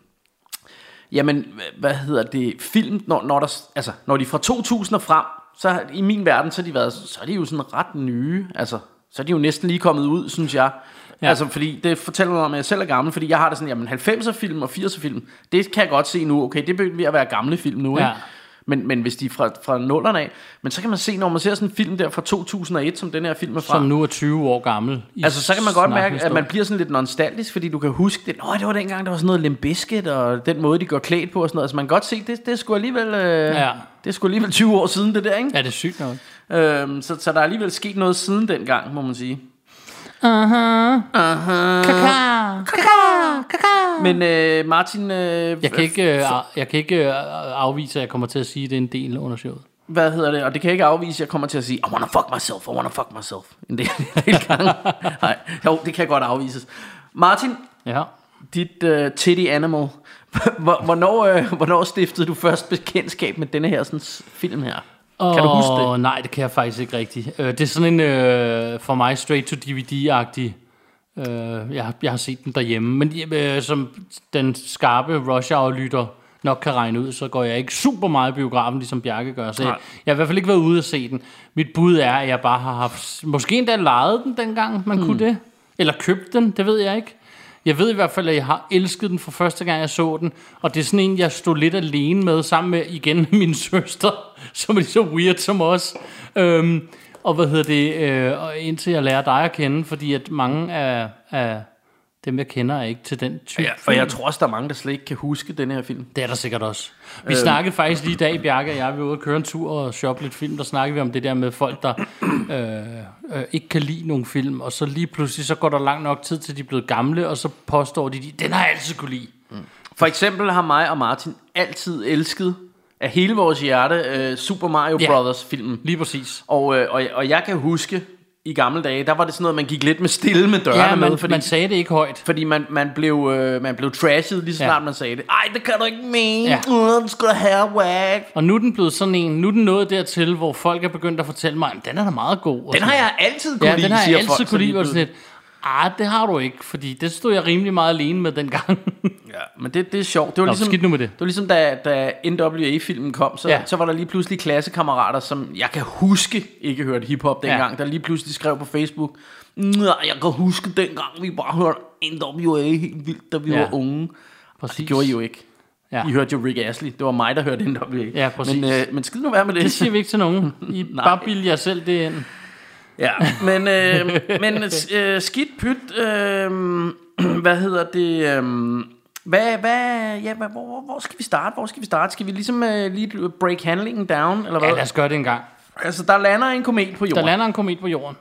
Speaker 4: jamen, hva- hvad hedder det, film, når, når, der, s- altså, når de er fra 2000 og frem, så har- i min verden, så har de, været, så er de jo sådan ret nye, altså, så er de jo næsten lige kommet ud, synes jeg. Ja. Altså, fordi det fortæller mig, om, at jeg selv er gammel, fordi jeg har det sådan, jamen 90'er film og 80'er film, det kan jeg godt se nu, okay, det begynder at være gamle film nu,
Speaker 3: Ja.
Speaker 4: ikke? Men, men hvis de er fra, fra nullerne af, men så kan man se, når man ser sådan en film der fra 2001, som den her film er fra,
Speaker 3: Som nu er 20 år gammel. i
Speaker 4: altså så kan man godt mærke, at
Speaker 3: snakhistorie.
Speaker 4: man bliver sådan lidt nostalgisk, fordi du kan huske det, Nå, det var dengang, der var sådan noget limbisket, og den måde, de går klædt på og sådan noget, altså man kan godt se, det, det skulle alligevel... Øh,
Speaker 3: Ja.
Speaker 4: Det skulle alligevel 20 år siden, det der, ikke?
Speaker 3: Ja, det er sygt nok.
Speaker 4: Ja. Øhm, så, så der er alligevel sket noget siden dengang, må man sige. Men øh, Martin, øh,
Speaker 3: Jeg kan ikke, øh, jeg kan ikke øh, afvise, at jeg kommer til at sige, at det er en del under showet.
Speaker 4: hvad hedder det? Og det kan jeg ikke afvise, jeg kommer til at sige, I wanna fuck myself, I wanna fuck myself. En del, en del *laughs* gange. Nej, jo, det kan godt afvises. Martin,
Speaker 3: Ja.
Speaker 4: dit uh, titty animal. *laughs* Hvor- hvornår, øh, hvornår stiftede du først bekendtskab med denne her sådan, s- film her? Kan du huske det?
Speaker 3: Åh, Nej, det kan jeg faktisk ikke rigtigt. Øh, det er sådan en, øh, for mig, straight-to-DVD-agtig. Øh, jeg, har- jeg har set den derhjemme, men øh, som den skarpe rush hour lytter nok kan regne ud, så går jeg ikke super meget i biografen, ligesom Bjarke gør. Så jeg,
Speaker 4: Nej.
Speaker 3: jeg har i hvert fald ikke været ude at se den. Mit bud er, at jeg bare har haft... Måske endda lejet den dengang, man
Speaker 4: Hmm.
Speaker 3: kunne det. Eller købt den, det ved jeg ikke. Jeg ved i hvert fald, at jeg har elsket den fra første gang, jeg så den. Og det er sådan en, jeg stod lidt alene med, sammen med igen *laughs* min søster, som er lige så weird som os. Øhm, og hvad hedder det? Øh, og indtil jeg lærer dig at kende, fordi at mange af, af dem, jeg kender, er ikke til den type.
Speaker 4: Ja, for jeg tror også, der er mange, der slet ikke kan huske den her film.
Speaker 3: Det er der sikkert også. Vi
Speaker 4: Øhm.
Speaker 3: øh. snakkede faktisk lige i dag, Bjarke og jeg, vi var ude og køre en tur og shoppe lidt film, der snakkede vi om det der med folk, der *clears throat* øh, øh, ikke kan lide nogen film, og så lige pludselig, så går der lang nok tid, til de er blevet gamle, og så påstår de, de den har jeg altid kunne lide.
Speaker 4: For eksempel har mig og Martin altid elsket af hele vores hjerte øh, Super Mario
Speaker 3: Ja.
Speaker 4: yeah. Brothers filmen.
Speaker 3: Lige præcis.
Speaker 4: Og, øh, og, og jeg kan huske, i gamle dage, der var det sådan noget, man gik lidt med stille med dørene
Speaker 3: Ja,
Speaker 4: med,
Speaker 3: man,
Speaker 4: fordi,
Speaker 3: man sagde det ikke højt.
Speaker 4: fordi man, man, blev, øh, man blev trashet lige så
Speaker 3: Ja.
Speaker 4: snart man sagde det. Ej, det kan du ikke mene.
Speaker 3: Ja.
Speaker 4: Ja. Uh, du skal have whack.
Speaker 3: Og nu er den blevet sådan en, nu er den nået dertil, hvor folk er begyndt at fortælle mig, "Jamen, den er da meget god. og
Speaker 4: Den har
Speaker 3: sådan.
Speaker 4: jeg altid kunne
Speaker 3: ja,
Speaker 4: lide,
Speaker 3: den har jeg
Speaker 4: siger
Speaker 3: altid
Speaker 4: folk, så
Speaker 3: kunne lide,
Speaker 4: lige
Speaker 3: hvor det er sådan lidt, ah, det har du ikke, fordi det stod jeg rimelig meget alene med dengang.
Speaker 4: Ja, men det, det er sjovt. Det var
Speaker 3: Nå,
Speaker 4: ligesom,
Speaker 3: skidt nu med det.
Speaker 4: Det var ligesom, da, da NWA-filmen kom, så,
Speaker 3: Ja.
Speaker 4: ja. så var der lige pludselig klassekammerater, som jeg kan huske ikke hørte hiphop dengang, ja. der lige pludselig skrev på Facebook, Nej, jeg kan huske dengang, vi bare hørte NWA helt vildt, da vi
Speaker 3: Ja.
Speaker 4: ja. var unge.
Speaker 3: Præcis.
Speaker 4: Og det gjorde I jo ikke.
Speaker 3: *laughs* Ja.
Speaker 4: I hørte jo Rick Astley. Det var mig, der hørte NWA.
Speaker 3: Ja, præcis.
Speaker 4: Men, øh, men skid nu være med det.
Speaker 3: Det siger vi ikke til
Speaker 4: *laughs*
Speaker 3: nogen. I
Speaker 4: Nej.
Speaker 3: bare bilde jer selv det ind.
Speaker 4: Ja, men, øh, men øh, skidt pyt, øh, *clears throat* hvad hedder det, øh, hvad, hvad, ja, hvad, hvor, hvor- hvor skal vi starte, hvor skal vi starte, skal vi ligesom øh, lige break handlingen down, eller hvad?
Speaker 3: Ja, lad os gøre det en gang.
Speaker 4: Altså, der lander en komet på
Speaker 3: Der
Speaker 4: jorden.
Speaker 3: lander en komet på jorden.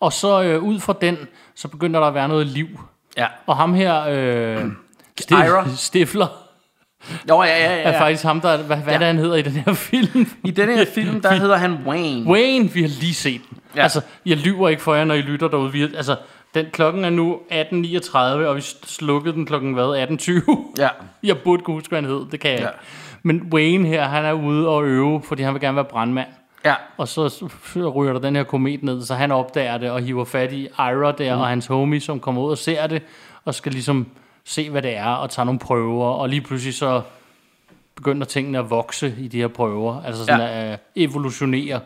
Speaker 3: Og så øh, ud fra den, så begynder der at være noget liv.
Speaker 4: Ja.
Speaker 3: Og ham her, øh, *clears throat*
Speaker 4: Ira.
Speaker 3: Stif- Stifler,
Speaker 4: Jo, ja, ja,
Speaker 3: er
Speaker 4: ja.
Speaker 3: ja.
Speaker 4: ja.
Speaker 3: faktisk ham, der, hvad, hvad ja. det, han hedder i den her film.
Speaker 4: I den
Speaker 3: *laughs*
Speaker 4: her film, der hedder han Wayne.
Speaker 3: Wayne, vi har lige set den. Ja.
Speaker 4: Ja.
Speaker 3: Altså, jeg lyver ikke for jer, når I lytter derude. Vi, har- altså, den klokken er nu 18.39, og vi slukkede den klokken, hvad, 18.20?
Speaker 4: Ja.
Speaker 3: *laughs* Jeg burde kunne huske, hvad han hed, det kan jeg ja.
Speaker 4: Ja.
Speaker 3: ikke. Men Wayne her, han er ude og øve, fordi han vil gerne være brandmand.
Speaker 4: Ja,
Speaker 3: Og så s- ryger der den her komet ned, så han opdager det og hiver fat i Ira der mm. og hans homie, som kommer ud og ser det, og skal ligesom se, hvad det er, og tager nogle prøver, og lige pludselig så begynder tingene at vokse i de her prøver, altså sådan ja.
Speaker 4: Ja.
Speaker 3: at øh, evolutionere.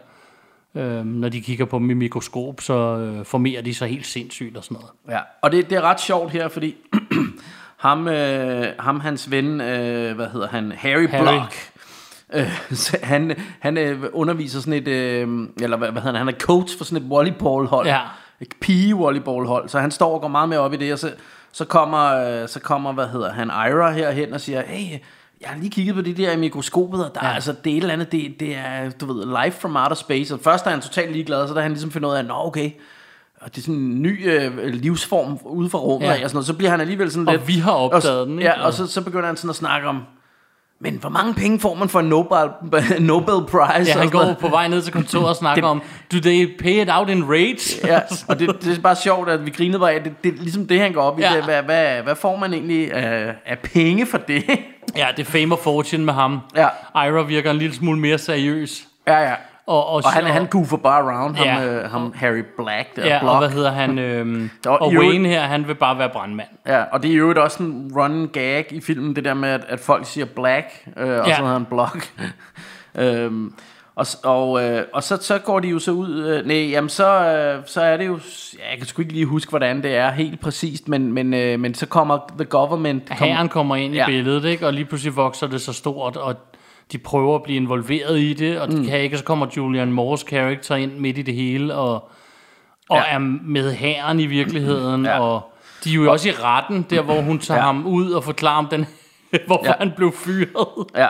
Speaker 3: Øhm, når de kigger på dem i mikroskop, så øh, formerer de sig helt sindssygt og sådan noget.
Speaker 4: ja. Og det, det er ret sjovt her, fordi *clears throat* ham, øh, ham hans ven, øh, hvad hedder han, Harry,
Speaker 3: Harry.
Speaker 4: Harry. Block, Øh, *laughs* så han, han øh, underviser sådan et, øh, eller hvad, hvad hedder han, han er coach for sådan et volleyballhold.
Speaker 3: Ja.
Speaker 4: Et pige-volleyballhold. Så han står og går meget mere op i det, og så, så, kommer, øh, så kommer, hvad hedder han, Ira herhen og siger, hey, jeg har lige kigget på det der i mikroskopet, og der ja. er altså det er et eller andet, det, det er, du ved, life from outer space. Og først er han totalt ligeglad, og så da han ligesom finder ud af, nå okay, og det er sådan en ny øh, livsform ude fra rummet,
Speaker 3: Ja.
Speaker 4: ja. og sådan noget. så bliver han alligevel sådan
Speaker 3: Og
Speaker 4: lidt...
Speaker 3: vi har opdaget
Speaker 4: og,
Speaker 3: den, ikke?
Speaker 4: Ja, og så, så begynder han sådan at snakke om, men hvor mange penge får man for en Nobel, *laughs* Nobel Prize?
Speaker 3: Ja, han
Speaker 4: og sådan
Speaker 3: går
Speaker 4: noget?
Speaker 3: på vej ned til kontoret og
Speaker 4: *laughs*
Speaker 3: snakker om, do they pay it out in rates?
Speaker 4: Ja,
Speaker 3: *laughs*
Speaker 4: og det, det er bare sjovt, at vi grinede bare af, det, det er ligesom det, han går op i.
Speaker 3: Ja.
Speaker 4: Ja. Det, er, hvad, hvad, hvad får man egentlig af, af penge for det? *laughs*
Speaker 3: Ja, det er fame og fortune med ham.
Speaker 4: Ja.
Speaker 3: Ira virker en lille smule mere seriøs.
Speaker 4: ja, ja.
Speaker 3: Og, og,
Speaker 4: Og han, han goofer bare around, ham,
Speaker 3: Ja.
Speaker 4: ja. øh, ham Harry Black der,
Speaker 3: Ja,
Speaker 4: Block.
Speaker 3: og hvad hedder *laughs* han? Øhm,
Speaker 4: Der var
Speaker 3: og
Speaker 4: i øvrigt-
Speaker 3: Wayne her, han vil bare være brandmand.
Speaker 4: Ja, og det er jo også en run gag i filmen, det der med, at, at folk siger black, øh, og ja. så
Speaker 3: Ja.
Speaker 4: hedder han
Speaker 3: *laughs*
Speaker 4: block. øhm, og s- og, øh, og så, så går de jo så ud, øh, nej, jamen så, øh, så er det jo, s- ja, jeg kan sgu ikke lige huske, hvordan det er helt præcist, men, men, øh, men så kommer the government. Kom,
Speaker 3: Hæren kommer ind ja. i
Speaker 4: Ja.
Speaker 3: billedet, ikke? og lige pludselig vokser det så stort, og de prøver at blive involveret i det, og det mm. kan ikke, og så kommer Julian Moores karakter ind midt i det hele, og, og ja.
Speaker 4: Ja.
Speaker 3: er med hæren i virkeligheden, ja. og de er jo også i retten, der hvor hun tager ja.
Speaker 4: Ja.
Speaker 3: ham ud og forklarer om den, *laughs* hvorfor ja.
Speaker 4: Ja.
Speaker 3: han blev fyret.
Speaker 4: ja,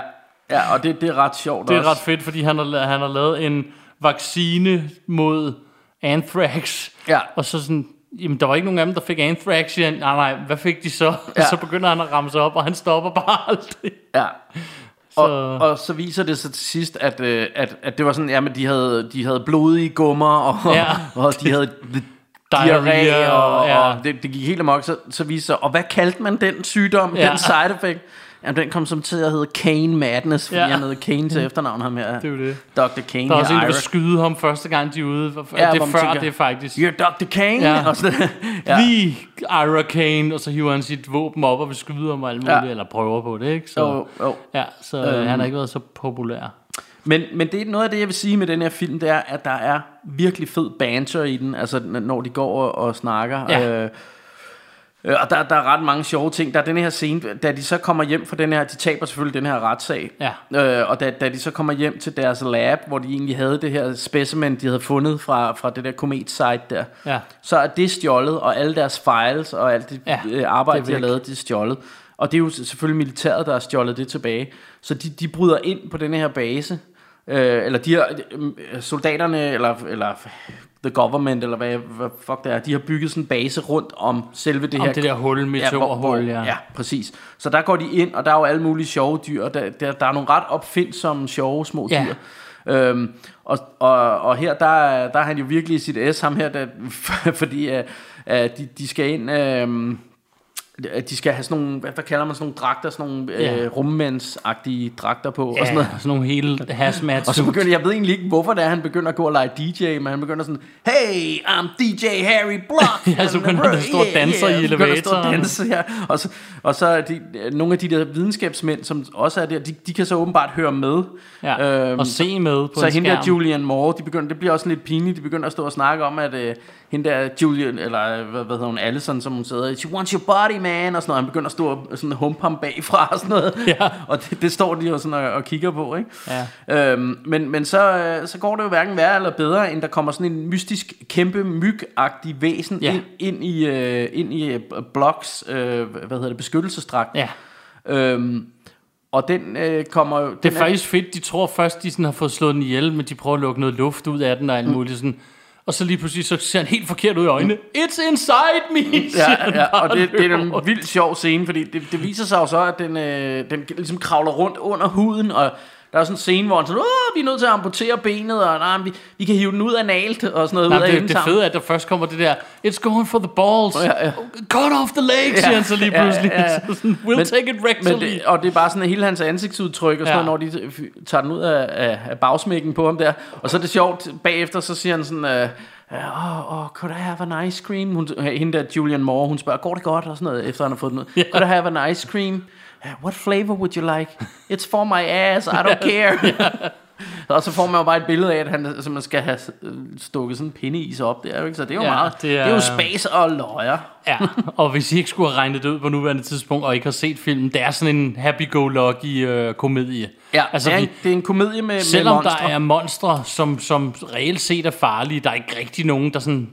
Speaker 4: ja, og det, det er ret sjovt
Speaker 3: Det er
Speaker 4: også.
Speaker 3: ret fedt, fordi han har, la- han har lavet en vaccine mod anthrax.
Speaker 4: Ja.
Speaker 3: Og så sådan, jamen der var ikke nogen af dem, der fik anthrax. Ja, nej, nej, hvad fik de så? *laughs* Ja.
Speaker 4: Ja.
Speaker 3: Så begynder han at ramme sig op, og han stopper bare *laughs* aldrig.
Speaker 4: Ja. Og, og så viser det sig til sidst, at, øh, at, at det var sådan, ja, men de havde, de havde blodige gummer, og,
Speaker 3: Ja.
Speaker 4: ja. *laughs* og de havde
Speaker 3: Diarré,
Speaker 4: diarré, og,
Speaker 3: ja.
Speaker 4: og det, det gik helt amok, så, så viste sig, og hvad kaldte man den sygdom,
Speaker 3: Ja.
Speaker 4: ja. den side effect? Jamen, den kom som til at hedde Kane Madness, fordi
Speaker 3: Ja. Mm.
Speaker 4: ja. han hedder Kane til efternavn, ham her.
Speaker 3: Det er jo det.
Speaker 4: Dr. Kane,
Speaker 3: Der er også en, der
Speaker 4: her,
Speaker 3: vil
Speaker 4: Ira.
Speaker 3: skyde ham første gang, de er ude. For-
Speaker 4: Ja,
Speaker 3: det er
Speaker 4: hvor man
Speaker 3: før
Speaker 4: tænker,
Speaker 3: det faktisk.
Speaker 4: You're Dr. Kane?
Speaker 3: Ja.
Speaker 4: Ja. Og sådan,
Speaker 3: Ja.
Speaker 4: ja.
Speaker 3: Lige Ira Kane, og så hiver han sit våben op og vil skyde ham og alt muligt, ja.
Speaker 4: Ja.
Speaker 3: eller prøver på det, ikke? Så,
Speaker 4: Jo, jo.
Speaker 3: Ja, så øhm. han har ikke været så populær.
Speaker 4: Men, men det er noget af det, jeg vil sige med den her film, det er, at der er virkelig fed banter i den, altså n- når de går og, og snakker.
Speaker 3: Ja.
Speaker 4: Øh, øh, og der, der er ret mange sjove ting. Der er den her scene, da de så kommer hjem fra den her, de taber selvfølgelig den her retssag.
Speaker 3: Ja.
Speaker 4: Øh, og da, da de så kommer hjem til deres lab, hvor de egentlig havde det her specimen, de havde fundet fra, fra det der komet-site der,
Speaker 3: Ja.
Speaker 4: så er det stjålet, og alle deres files og alt det
Speaker 3: Ja,
Speaker 4: ja, øh, arbejde,
Speaker 3: det er
Speaker 4: de har
Speaker 3: væk.
Speaker 4: lavet, det er stjålet. Og det er jo selvfølgelig militæret, der har stjålet det tilbage. Så de, de bryder ind på den her base, Øh, eller de har, øh, soldaterne, eller, eller the government, eller hvad, hvad fuck det er, de har bygget sådan en base rundt om selve det
Speaker 3: Om
Speaker 4: her.
Speaker 3: det der hul, meteorhul, ja.
Speaker 4: ja, præcis. Så der går de ind, og der er jo alle mulige sjove dyr, og der, der, der er nogle ret opfindsomme, sjove små
Speaker 3: Ja.
Speaker 4: dyr. Øhm, og, og, og her, der, er- der er han jo virkelig i sit S, ham her, der, *laughs* fordi øh, øh, de, de skal ind... Øh, at de skal have sådan nogle, hvad, hvad kalder man sådan nogle dragter, sådan nogle
Speaker 3: Ja.
Speaker 4: øh, rummandsagtige dragter på, og
Speaker 3: Og
Speaker 4: sådan noget.
Speaker 3: sådan nogle hele hazmat
Speaker 4: Og så begynder, jeg ved egentlig ikke, hvorfor det er, han begynder at gå og lege DJ, men han begynder sådan, hey, I'm DJ Harry Block.
Speaker 3: *laughs* Ja, så begynder han at stå og danse i
Speaker 4: så begynder han at stå og
Speaker 3: elevatoren.
Speaker 4: danse, ja. Og så, og så er de, nogle af de der videnskabsmænd, som også er der, de, de kan så åbenbart høre med. Øhm,
Speaker 3: ja. og se med på
Speaker 4: så
Speaker 3: en
Speaker 4: hende der
Speaker 3: skærm.
Speaker 4: Julian Moore, de begynder, det bliver også lidt pinligt, de begynder at stå og snakke om, at øh, hende der Julian, eller øh, hvad, hvad hedder hun, Allison, som hun sidder, i, she wants your body, man, og sådan noget, han begynder at stå og sådan humpe ham bagfra og sådan noget,
Speaker 3: Ja.
Speaker 4: og det, det står de jo sådan og, og kigger på, ikke?
Speaker 3: Ja.
Speaker 4: Øhm, men men så, øh, så går det jo hverken værre eller bedre, end der kommer sådan en mystisk, kæmpe myg-agtig væsen
Speaker 3: Ja.
Speaker 4: ind, ind i, øh, ind i øh, Blocks, øh, hvad hedder det, beskyttelsesdragt.
Speaker 3: Ja.
Speaker 4: Øhm, og den øh, kommer jo...
Speaker 3: Det er faktisk fedt, de tror først, de sådan har fået slået den ihjel, men de prøver at lukke noget luft ud af den og alt
Speaker 4: Mm.
Speaker 3: muligt sådan. Og så lige pludselig, så ser han helt forkert ud i øjnene. It's inside me,
Speaker 4: ja, ja, og det, det er en vildt sjov scene, fordi det, det viser sig jo så, at den, øh, den ligesom kravler rundt under huden, og der er sådan en scene, hvor han sådan, Åh, vi er nødt til at amputere benet, og nej, men vi, vi kan hive den ud analt, og sådan noget
Speaker 3: Nej,
Speaker 4: ud af
Speaker 3: det,
Speaker 4: enden
Speaker 3: det
Speaker 4: sammen.
Speaker 3: fede er, at der først kommer det der, it's going for the balls,
Speaker 4: Ja, ja.
Speaker 3: cut off the legs,
Speaker 4: Ja,
Speaker 3: ja, siger han så lige
Speaker 4: ja, ja,
Speaker 3: pludselig.
Speaker 4: ja, ja.
Speaker 3: *laughs* Så sådan, We'll
Speaker 4: Men-
Speaker 3: take it
Speaker 4: Men
Speaker 3: rectally.
Speaker 4: det, og det er bare sådan at hele hans ansigtsudtryk, og sådan
Speaker 3: Ja.
Speaker 4: noget, når de f- tager den ud af, af, af bagsmækken på ham der. Og så er det sjovt, bagefter så siger han sådan, øh, oh, oh, could I have an ice cream? Hun, hende der Julian Moore, hun spørger, går det godt? Og sådan noget, efter han har fået den ud.
Speaker 3: Ja.
Speaker 4: Could I have an ice cream? "Uh, What flavor would you like? It's for my ass, I don't
Speaker 3: *laughs*
Speaker 4: care. *laughs* Og så får man jo bare et billede af, at han simpelthen skal have øh, stukket sådan en pindeis op der, ikke? Så det er jo
Speaker 3: Ja,
Speaker 4: meget,
Speaker 3: det
Speaker 4: det er,
Speaker 3: er-
Speaker 4: det er jo spas og løjer.
Speaker 3: Ja, og hvis I ikke skulle have regnet det ud på nuværende tidspunkt, og ikke har set filmen, det er sådan en happy-go-lucky øh, komedie.
Speaker 4: Ja,
Speaker 3: altså,
Speaker 4: det, er en,
Speaker 3: vi,
Speaker 4: det er en komedie med, med
Speaker 3: selvom der
Speaker 4: monstre.
Speaker 3: er monstre, som, som reelt set er farlige, der er ikke rigtig nogen, der sådan...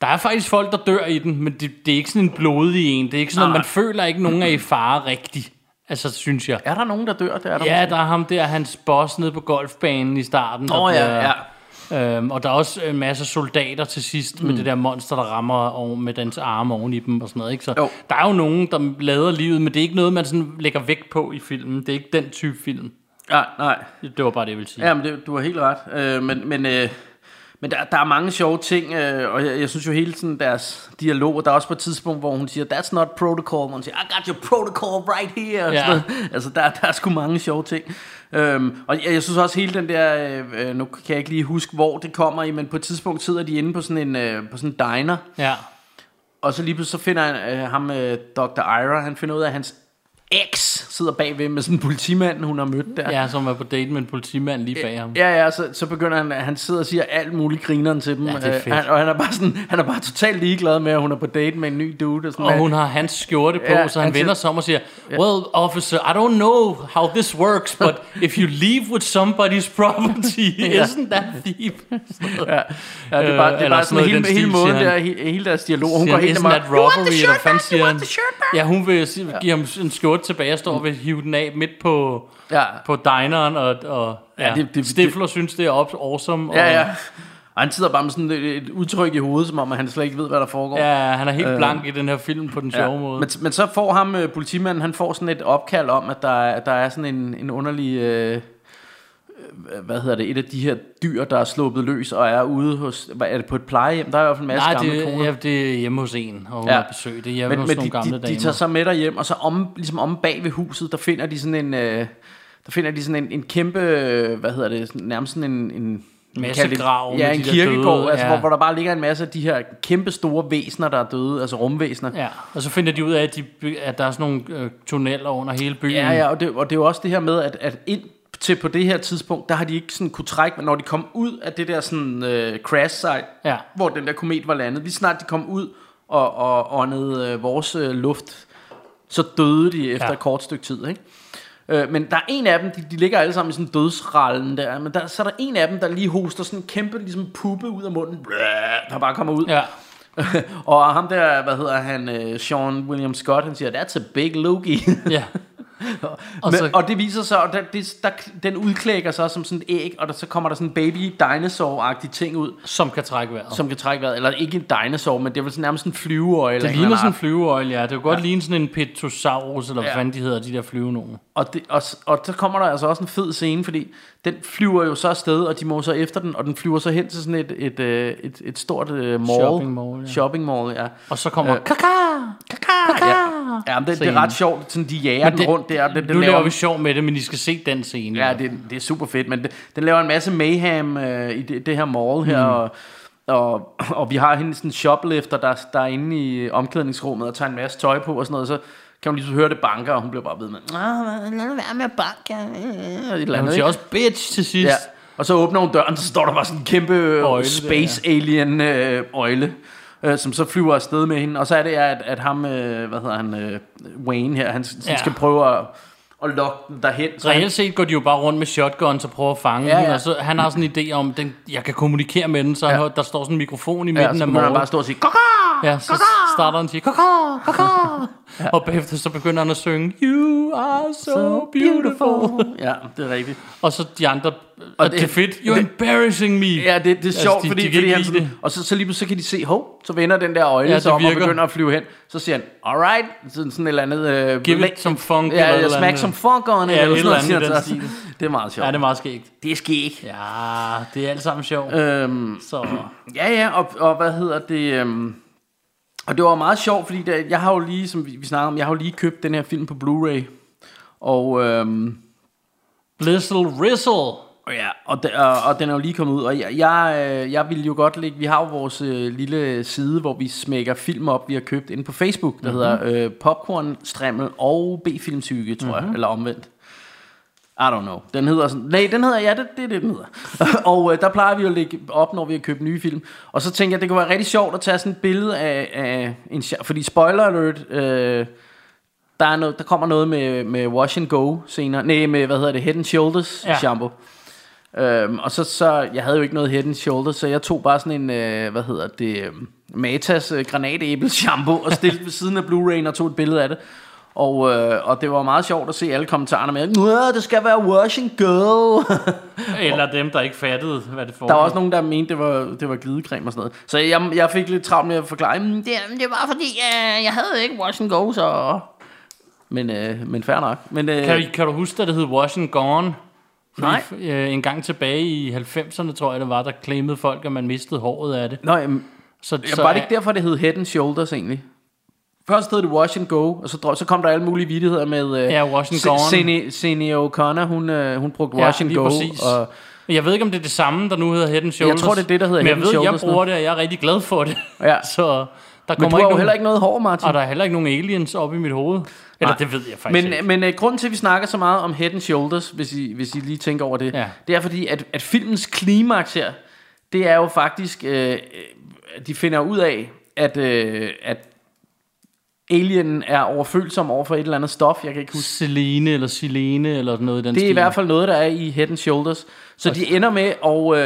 Speaker 3: Der er faktisk folk, der dør i den, men det, det er ikke sådan en blodig en. Det er ikke sådan, at man føler ikke, nogen er i fare rigtigt. Altså, synes jeg.
Speaker 4: Er der nogen, der dør? Det er der
Speaker 3: Ja, der er ham der, hans boss nede på golfbanen i starten. der
Speaker 4: Nå ja, ja.
Speaker 3: bliver- Øhm, og der er også en masse soldater til sidst mm. med det der monster, der rammer over, med dens arme oven i dem og sådan noget. Ikke? Så
Speaker 4: Jo.
Speaker 3: der er jo nogen, der lader livet, men det er ikke noget, man sådan lægger vægt på i filmen. Det er ikke den type film.
Speaker 4: Nej, Ah, nej.
Speaker 3: Det var bare det, jeg ville sige.
Speaker 4: Jamen, det, du har helt ret. Øh, men men, øh, men der, der er mange sjove ting, øh, og jeg, jeg synes jo hele tiden deres dialog, og der er også på et tidspunkt, hvor hun siger, that's not protocol, hvor hun siger, I got your protocol right here. Og
Speaker 3: Ja.
Speaker 4: sådan noget. Altså, der, der er sgu mange sjove ting. Øhm, og jeg, jeg synes også hele den der, øh, øh, nu kan jeg ikke lige huske, hvor det kommer i, men på et tidspunkt sidder de inde på sådan en, øh, på sådan en diner,
Speaker 3: Ja.
Speaker 4: Og så lige pludselig så finder han, øh, ham, øh, Dr. Ira, han finder ud af, at hans eks sidder bagved med sådan en politimand, hun har mødt der.
Speaker 3: ja, som er på date med en politimand lige bag ham.
Speaker 4: Ja, ja, så, så begynder han, han sidder og siger alt muligt grineren til dem.
Speaker 3: Ja, det er
Speaker 4: Øh,
Speaker 3: fedt.
Speaker 4: han, og han er bare sådan, han er bare totalt ligeglad med, at hun er på date med en ny dude. Og, sådan,
Speaker 3: Og
Speaker 4: noget.
Speaker 3: hun har hans skjorte på,
Speaker 4: Ja,
Speaker 3: ja, så han
Speaker 4: han
Speaker 3: vender
Speaker 4: siger-
Speaker 3: sig om og siger, Well, officer, I don't know how this works, but if you leave with somebody's property,
Speaker 4: *laughs*
Speaker 3: isn't that thief?
Speaker 4: ja, ja, det er bare,
Speaker 3: Øh,
Speaker 4: det er
Speaker 3: eller
Speaker 4: bare
Speaker 3: sådan noget
Speaker 4: sådan
Speaker 3: i
Speaker 4: hele,
Speaker 3: den
Speaker 4: hele
Speaker 3: stil,
Speaker 4: måden
Speaker 3: siger
Speaker 4: der,
Speaker 3: han.
Speaker 4: he- hele deres dialog. Hun
Speaker 3: siger
Speaker 4: går
Speaker 3: han,
Speaker 4: helt
Speaker 3: isn't
Speaker 4: dem
Speaker 3: that robbery, eller hvad fanden siger han? Ja, hun vil si- give ham en skjorte tilbage og står og vil hive den af midt på,
Speaker 4: Ja.
Speaker 3: på dineren, og, og ja, ja,
Speaker 4: det-
Speaker 3: det,
Speaker 4: det-
Speaker 3: det, Stifler synes, det er op- awesome. Og,
Speaker 4: Ja, ja. Og han sidder bare med sådan et, et udtryk i hovedet, som om at han slet ikke ved, hvad der foregår.
Speaker 3: ja, han er
Speaker 4: Øh.
Speaker 3: helt blank i den her film på den sjove måde.
Speaker 4: Men, men så får ham, øh, politimanden, han får sådan et opkald om, at der, er- der er sådan en, en underlig, øh, øh, hvad hedder det, et af de her dyr, der er sluppet løs og er ude hos, hvad, er det på et plejehjem? Der er i hvert fald en masse
Speaker 3: Nej,
Speaker 4: gamle koner.
Speaker 3: det, ja, det er hjemme hos en, og hun
Speaker 4: Ja.
Speaker 3: ja. har besøg. Det er hjemme hos nogle
Speaker 4: de,
Speaker 3: gamle
Speaker 4: de,
Speaker 3: damer.
Speaker 4: de tager så med derhjem, og så om, ligesom om bag ved huset, der finder de sådan en, øh, der finder de sådan en, en kæmpe, øh, hvad hedder det, sådan, nærmest sådan en... en
Speaker 3: Massegrav
Speaker 4: Ja,
Speaker 3: med
Speaker 4: en
Speaker 3: de der
Speaker 4: kirkegård,
Speaker 3: døde,
Speaker 4: altså,
Speaker 3: ja.
Speaker 4: hvor, hvor der bare ligger en masse af de her kæmpe store væsener, der er døde, altså rumvæsener.
Speaker 3: Ja, og så finder de ud af, at, de, by- at der er sådan nogle øh, tunneller under hele byen.
Speaker 4: Ja, ja, og det, og det er jo også det her med, at, at ind til på det her tidspunkt, der har de ikke sådan kunne trække, men når de kom ud af det der sådan øh, crash site,
Speaker 3: Ja.
Speaker 4: hvor den der komet var landet, lige snart de kom ud og, og åndede øh, vores øh, luft, så døde de efter
Speaker 3: Ja.
Speaker 4: et kort stykke tid, ikke? Øh, men der er en af dem, de, de ligger alle sammen i sådan dødsrallen der, men der, så er der en af dem, der lige hoster sådan en kæmpe ligesom puppe ud af munden, Blæh, der bare kommer ud. *laughs*
Speaker 3: Ja.
Speaker 4: *laughs* og ham der, hvad hedder han, øh, Sean William Scott, han siger, that's a big loogie.
Speaker 3: ja.
Speaker 4: Og,
Speaker 3: så-
Speaker 4: Men, og det viser sig, at der, det, der, den udklækker sig som sådan et æg, og der, så kommer der sådan en baby dinosaur-agtig ting ud,
Speaker 3: som kan trække vejret. Som
Speaker 4: som kan trække vejret. Eller ikke en dinosaur, men det er vel sådan, nærmest en flyveøje. eller
Speaker 3: det
Speaker 4: en
Speaker 3: ligner
Speaker 4: eller
Speaker 3: sådan
Speaker 4: anden
Speaker 3: en flyveøjle, ja. Det kunne godt ligne sådan en petosaurus, eller hvad
Speaker 4: Ja.
Speaker 3: fanden de hedder, de der flyvenogen.
Speaker 4: Og, det, og, s- og så kommer der altså også en fed scene, fordi den flyver jo så afsted, og de må så efter den, og den flyver så hen til sådan et, et, øh, et, et stort uh, mall.
Speaker 3: Shopping mall, ja.
Speaker 4: Shopping mall, ja.
Speaker 3: Og så kommer...
Speaker 4: Øh,
Speaker 3: kaka! Kaka!
Speaker 4: ja. ja men det, det er ret sjovt, sådan de jager den rundt der. og Den, den
Speaker 3: nu laver
Speaker 4: laver,
Speaker 3: vi sjov med det, men I skal se den scene.
Speaker 4: Ja, det, det er super fedt, men det, den laver en masse mayhem øh, i det, det her mall
Speaker 3: Mm.
Speaker 4: her, og, og, og vi har hende sådan en shoplifter, der, der er inde i omklædningsrummet og tager en masse tøj på og sådan noget, så kan hun lige så høre det banker, og hun bliver bare ved med, "Ah, lad nu være med at banke, øh," og et
Speaker 3: Han
Speaker 4: eller
Speaker 3: siger
Speaker 4: andet, ikke?
Speaker 3: også bitch til sidst.
Speaker 4: Ja. Og så åbner hun døren, så står der bare sådan en kæmpe øjle,
Speaker 3: Øjle,
Speaker 4: space alien øh, øjle, øh, som så flyver afsted med hende. Og så er det, at, at ham, øh, hvad hedder han, øh, Wayne her, han, ja.
Speaker 3: Ja.
Speaker 4: skal prøve at, at lokke den derhen. Så han,
Speaker 3: Reelt set går de jo bare rundt med shotguns og prøver at fange
Speaker 4: Ja,
Speaker 3: ja,
Speaker 4: ja.
Speaker 3: ja. den, og så han har sådan en idé om, den, jeg kan kommunikere med den, så
Speaker 4: Ja.
Speaker 3: ja. der står sådan en mikrofon i
Speaker 4: ja,
Speaker 3: midten
Speaker 4: så
Speaker 3: af
Speaker 4: begynder han
Speaker 3: morgen.
Speaker 4: bare at stå og sige, Kaka!
Speaker 3: Ja, så starter han til kaka, kaka, ja. og bagefter så begynder han at synge, you are so, so beautiful. beautiful.
Speaker 4: Ja, det er rigtigt.
Speaker 3: Og så de andre, og det er fedt, you're
Speaker 4: det-
Speaker 3: embarrassing me.
Speaker 4: Ja, det, det er sjovt,
Speaker 3: Altså, de-
Speaker 4: fordi,
Speaker 3: de kan
Speaker 4: fordi
Speaker 3: ikke
Speaker 4: han
Speaker 3: lide
Speaker 4: sådan,
Speaker 3: det.
Speaker 4: og så, så lige pludselig så kan de se, hov, så vender den der øjle
Speaker 3: Ja,
Speaker 4: ja,
Speaker 3: det
Speaker 4: sig om og
Speaker 3: virker.
Speaker 4: begynder at flyve hen. Så siger han, alright, sådan, sådan et eller andet... Øh,
Speaker 3: Give it
Speaker 4: blæ-
Speaker 3: some funk eller
Speaker 4: Ja,
Speaker 3: et
Speaker 4: ja
Speaker 3: eller
Speaker 4: smack
Speaker 3: andet.
Speaker 4: some funk on it,
Speaker 3: Ja,
Speaker 4: eller
Speaker 3: et
Speaker 4: sådan noget, siger
Speaker 3: eller
Speaker 4: han
Speaker 3: andet
Speaker 4: så.
Speaker 3: i den
Speaker 4: Det er meget sjovt.
Speaker 3: Ja, det er meget skægt.
Speaker 4: det skal ikke.
Speaker 3: Ja, det er alt sammen sjovt.
Speaker 4: Øhm,
Speaker 3: Så
Speaker 4: ja, ja, og, og hvad hedder det... Øhm, og det var meget sjovt, fordi det, jeg har jo lige, som vi, vi snakkede om, jeg har jo lige købt den her film på Blu-ray. Og... Øhm,
Speaker 3: Blizzle Rizzle.
Speaker 4: Ja, og, de, og, og den er jo lige kommet ud, og jeg, jeg, øh, jeg vil jo godt lægge, vi har jo vores øh, lille side, hvor vi smækker film op, vi har købt inde på Facebook, der mm-hmm. hedder øh, Popcorn, Strammel og B-filmsyge, tror mm-hmm. jeg, eller omvendt. I don't know. Den hedder sådan, nej, den hedder, ja, det, det er det, den hedder. *laughs* og øh, der plejer vi jo at lægge op, når vi har købt nye film. Og så tænker jeg, det kunne være rigtig sjovt at tage sådan et billede af, af en, sja- fordi spoiler alert, øh, der, er noget, der kommer noget med, med Wash and Go senere. Nej, med, hvad hedder det, Head and Shoulders ja.
Speaker 3: Ja.
Speaker 4: shampoo. Øhm, og så, så, jeg havde jo ikke noget Head and Shoulders, så jeg tog bare sådan en, øh, hvad hedder det, øh, Matas øh, granatæble shampoo og stillede ved siden af Blu-ray'en og tog et billede af det. Og, øh, og det var meget sjovt at se alle kommentarerne med, Nå, det skal være Wash and Go.
Speaker 3: Eller dem, der ikke fattede, hvad det foregik.
Speaker 4: *laughs* Der var også nogen, der mente, det var, det var glidecreme og sådan noget. Så jeg, jeg fik lidt travlt med at forklare, "Mm, det, det var fordi, øh, jeg havde ikke Wash and Go, så... Men, øh, men fair nok. Men, øh,
Speaker 3: Kan, kan du huske, at det hed Wash and Gone? Fordi
Speaker 4: Nej.
Speaker 3: f- Øh, en gang tilbage i 90'erne, tror jeg det var, der claimede folk, at man mistede håret af det.
Speaker 4: Nå, jamen,
Speaker 3: Så,
Speaker 4: Så var det ikke derfor, det hed Head and Shoulders egentlig? Først hed det Wash and Go, og så, dro- så kom der alle mulige vittigheder med... Øh,
Speaker 3: Ja, Wash and
Speaker 4: Se-
Speaker 3: Gone.
Speaker 4: Sene- Sene O'Connor, hun, øh, hun brugte Wash and
Speaker 3: lige
Speaker 4: Go.
Speaker 3: præcis.
Speaker 4: Og,
Speaker 3: Men Jeg ved ikke, om det er det samme, der nu hedder Head and Shoulders.
Speaker 4: tror, det er det, der hedder
Speaker 3: Men
Speaker 4: Head
Speaker 3: jeg
Speaker 4: and
Speaker 3: ved,
Speaker 4: Shoulders
Speaker 3: jeg bruger det, og jeg er rigtig glad for det.
Speaker 4: Ja.
Speaker 3: *laughs* Så der
Speaker 4: men du
Speaker 3: kommer
Speaker 4: har jo
Speaker 3: ikke
Speaker 4: heller ikke noget hår, Martin.
Speaker 3: Og der er heller ikke nogen aliens op i mit hoved. Eller
Speaker 4: Nej.
Speaker 3: det ved jeg faktisk ikke.
Speaker 4: Men, men øh, grunden til, at vi snakker så meget om Head and Shoulders, hvis I, hvis I lige tænker over det,
Speaker 3: Ja.
Speaker 4: det er fordi, at, at filmens klimaks her, det er jo faktisk, øh, øh, de finder ud af, at, øh, at alienen er overfølsom over for et eller andet stof, jeg kan ikke huske.
Speaker 3: Selene eller Silene eller noget i den
Speaker 4: Det er
Speaker 3: stil.
Speaker 4: i hvert fald noget, der er i Head and Shoulders. Så de ender med at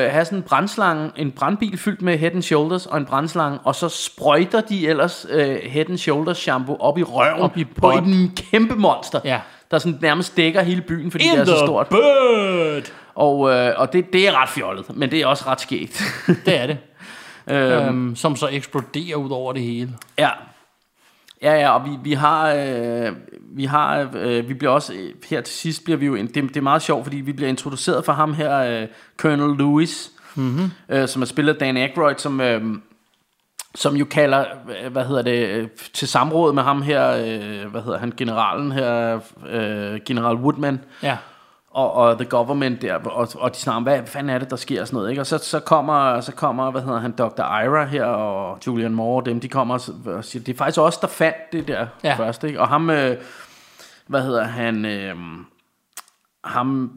Speaker 4: øh, have sådan en brandslange, en brandbil fyldt med Head and Shoulders og en brandslange, og så sprøjter de ellers øh, Head and Shoulders shampoo op i røven
Speaker 3: Op i
Speaker 4: på
Speaker 3: bot.
Speaker 4: en kæmpe monster,
Speaker 3: Ja.
Speaker 4: der sådan nærmest dækker hele byen, fordi det
Speaker 3: In
Speaker 4: er så
Speaker 3: the
Speaker 4: stort.
Speaker 3: bird!
Speaker 4: Og, øh, og det, det er ret fjollet, men det er også ret skægt.
Speaker 3: Det er
Speaker 4: *laughs*
Speaker 3: det. øhm, som så eksploderer ud over det hele.
Speaker 4: Ja. Ja, ja, og vi, vi har, øh, vi har, øh, vi bliver også, øh, her til sidst bliver vi jo, ind- det, det er meget sjovt, fordi vi bliver introduceret for ham her, øh, Colonel Lewis, mm-hmm. øh, som er spillet af Dan Aykroyd, som, øh, som jo kalder, øh, hvad hedder det, øh, til samråd med ham her, øh, hvad hedder han, generalen her, øh, general Woodman,
Speaker 3: Ja.
Speaker 4: og, og the government der, og, og de snakker, om, hvad fanden er det, der sker og sådan noget, ikke? Og så, så, kommer, så kommer, hvad hedder han, Dr. Ira her, og Julian Moore og dem, de kommer og s- og siger, det er faktisk os, der fandt det der ja.
Speaker 3: Ja.
Speaker 4: først, ikke? Og ham, øh, hvad hedder han, øh, ham,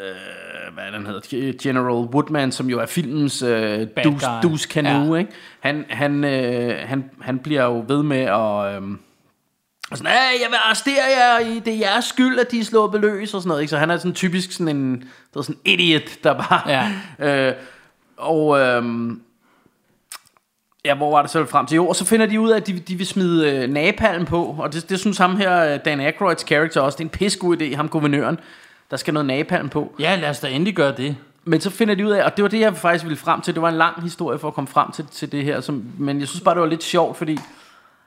Speaker 4: øh, hvad er det, han hedder, General Woodman, som jo er filmens øh,
Speaker 3: Bad
Speaker 4: dus,
Speaker 3: guy.
Speaker 4: dus
Speaker 3: Ja.
Speaker 4: kanu, ikke? Han, han, øh, han, han bliver jo ved med at... Øh, og sådan, "Ah, jeg vil arrestere jer, i det er jeres skyld, at de er sluppet løs, og sådan noget. Ikke? Så han er sådan typisk sådan en, der er sådan *laughs* en idiot, der bare... Ja. Øh, og, øhm, Ja, hvor var det så frem til? Jo, og så finder de ud af, at de, de vil smide øh, napalm på, og det, det synes ham her, øh, Dan Aykroyds karakter også, det er en pissegod idé, ham guvernøren, der skal noget napalm på.
Speaker 3: Ja, lad os da endelig gøre det.
Speaker 4: Men så finder de ud af, og det var det, jeg faktisk ville frem til, det var en lang historie for at komme frem til, til det her, som, men jeg synes bare, det var lidt sjovt, fordi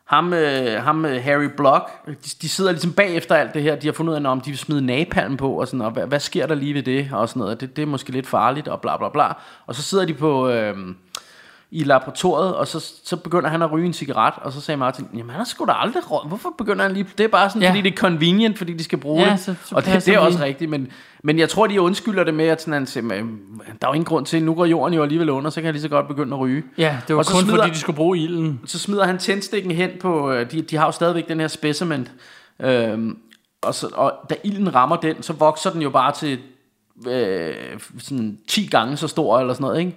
Speaker 4: ham, øh, ham øh, Harry Block, de, de sidder ligesom bagefter alt det her, de har fundet ud af, nå, om de vil smide napalm på, og sådan, og hvad, hvad sker der lige ved det, og sådan noget, og det, det er måske lidt farligt, og bla bla bla. Og så sidder de på... Øh, i laboratoriet, og så, så begynder han at ryge en cigaret, og så sagde Martin, jamen han har sgu da aldrig røget. Hvorfor begynder han lige? Det er bare sådan,
Speaker 3: Ja.
Speaker 4: ja. fordi det er convenient, fordi de skal bruge
Speaker 3: Ja,
Speaker 4: det.
Speaker 3: så- så
Speaker 4: og det,
Speaker 3: passer
Speaker 4: det er
Speaker 3: det
Speaker 4: også
Speaker 3: lige.
Speaker 4: rigtigt, men, men jeg tror, de undskylder det med, at sådan, han siger, "Men, der er jo ingen grund til, nu går jorden jo alligevel under, så kan jeg lige så godt begynde at ryge.
Speaker 3: Ja, det var
Speaker 4: Og så
Speaker 3: kun
Speaker 4: smider-
Speaker 3: fordi, de skulle bruge ilden.
Speaker 4: Så smider han tændstikken hen på, øh, de, de har jo stadigvæk den her specimen, øhm, og, så, og da ilden rammer den, så vokser den jo bare til øh, sådan 10 gange så stor eller sådan noget, ikke?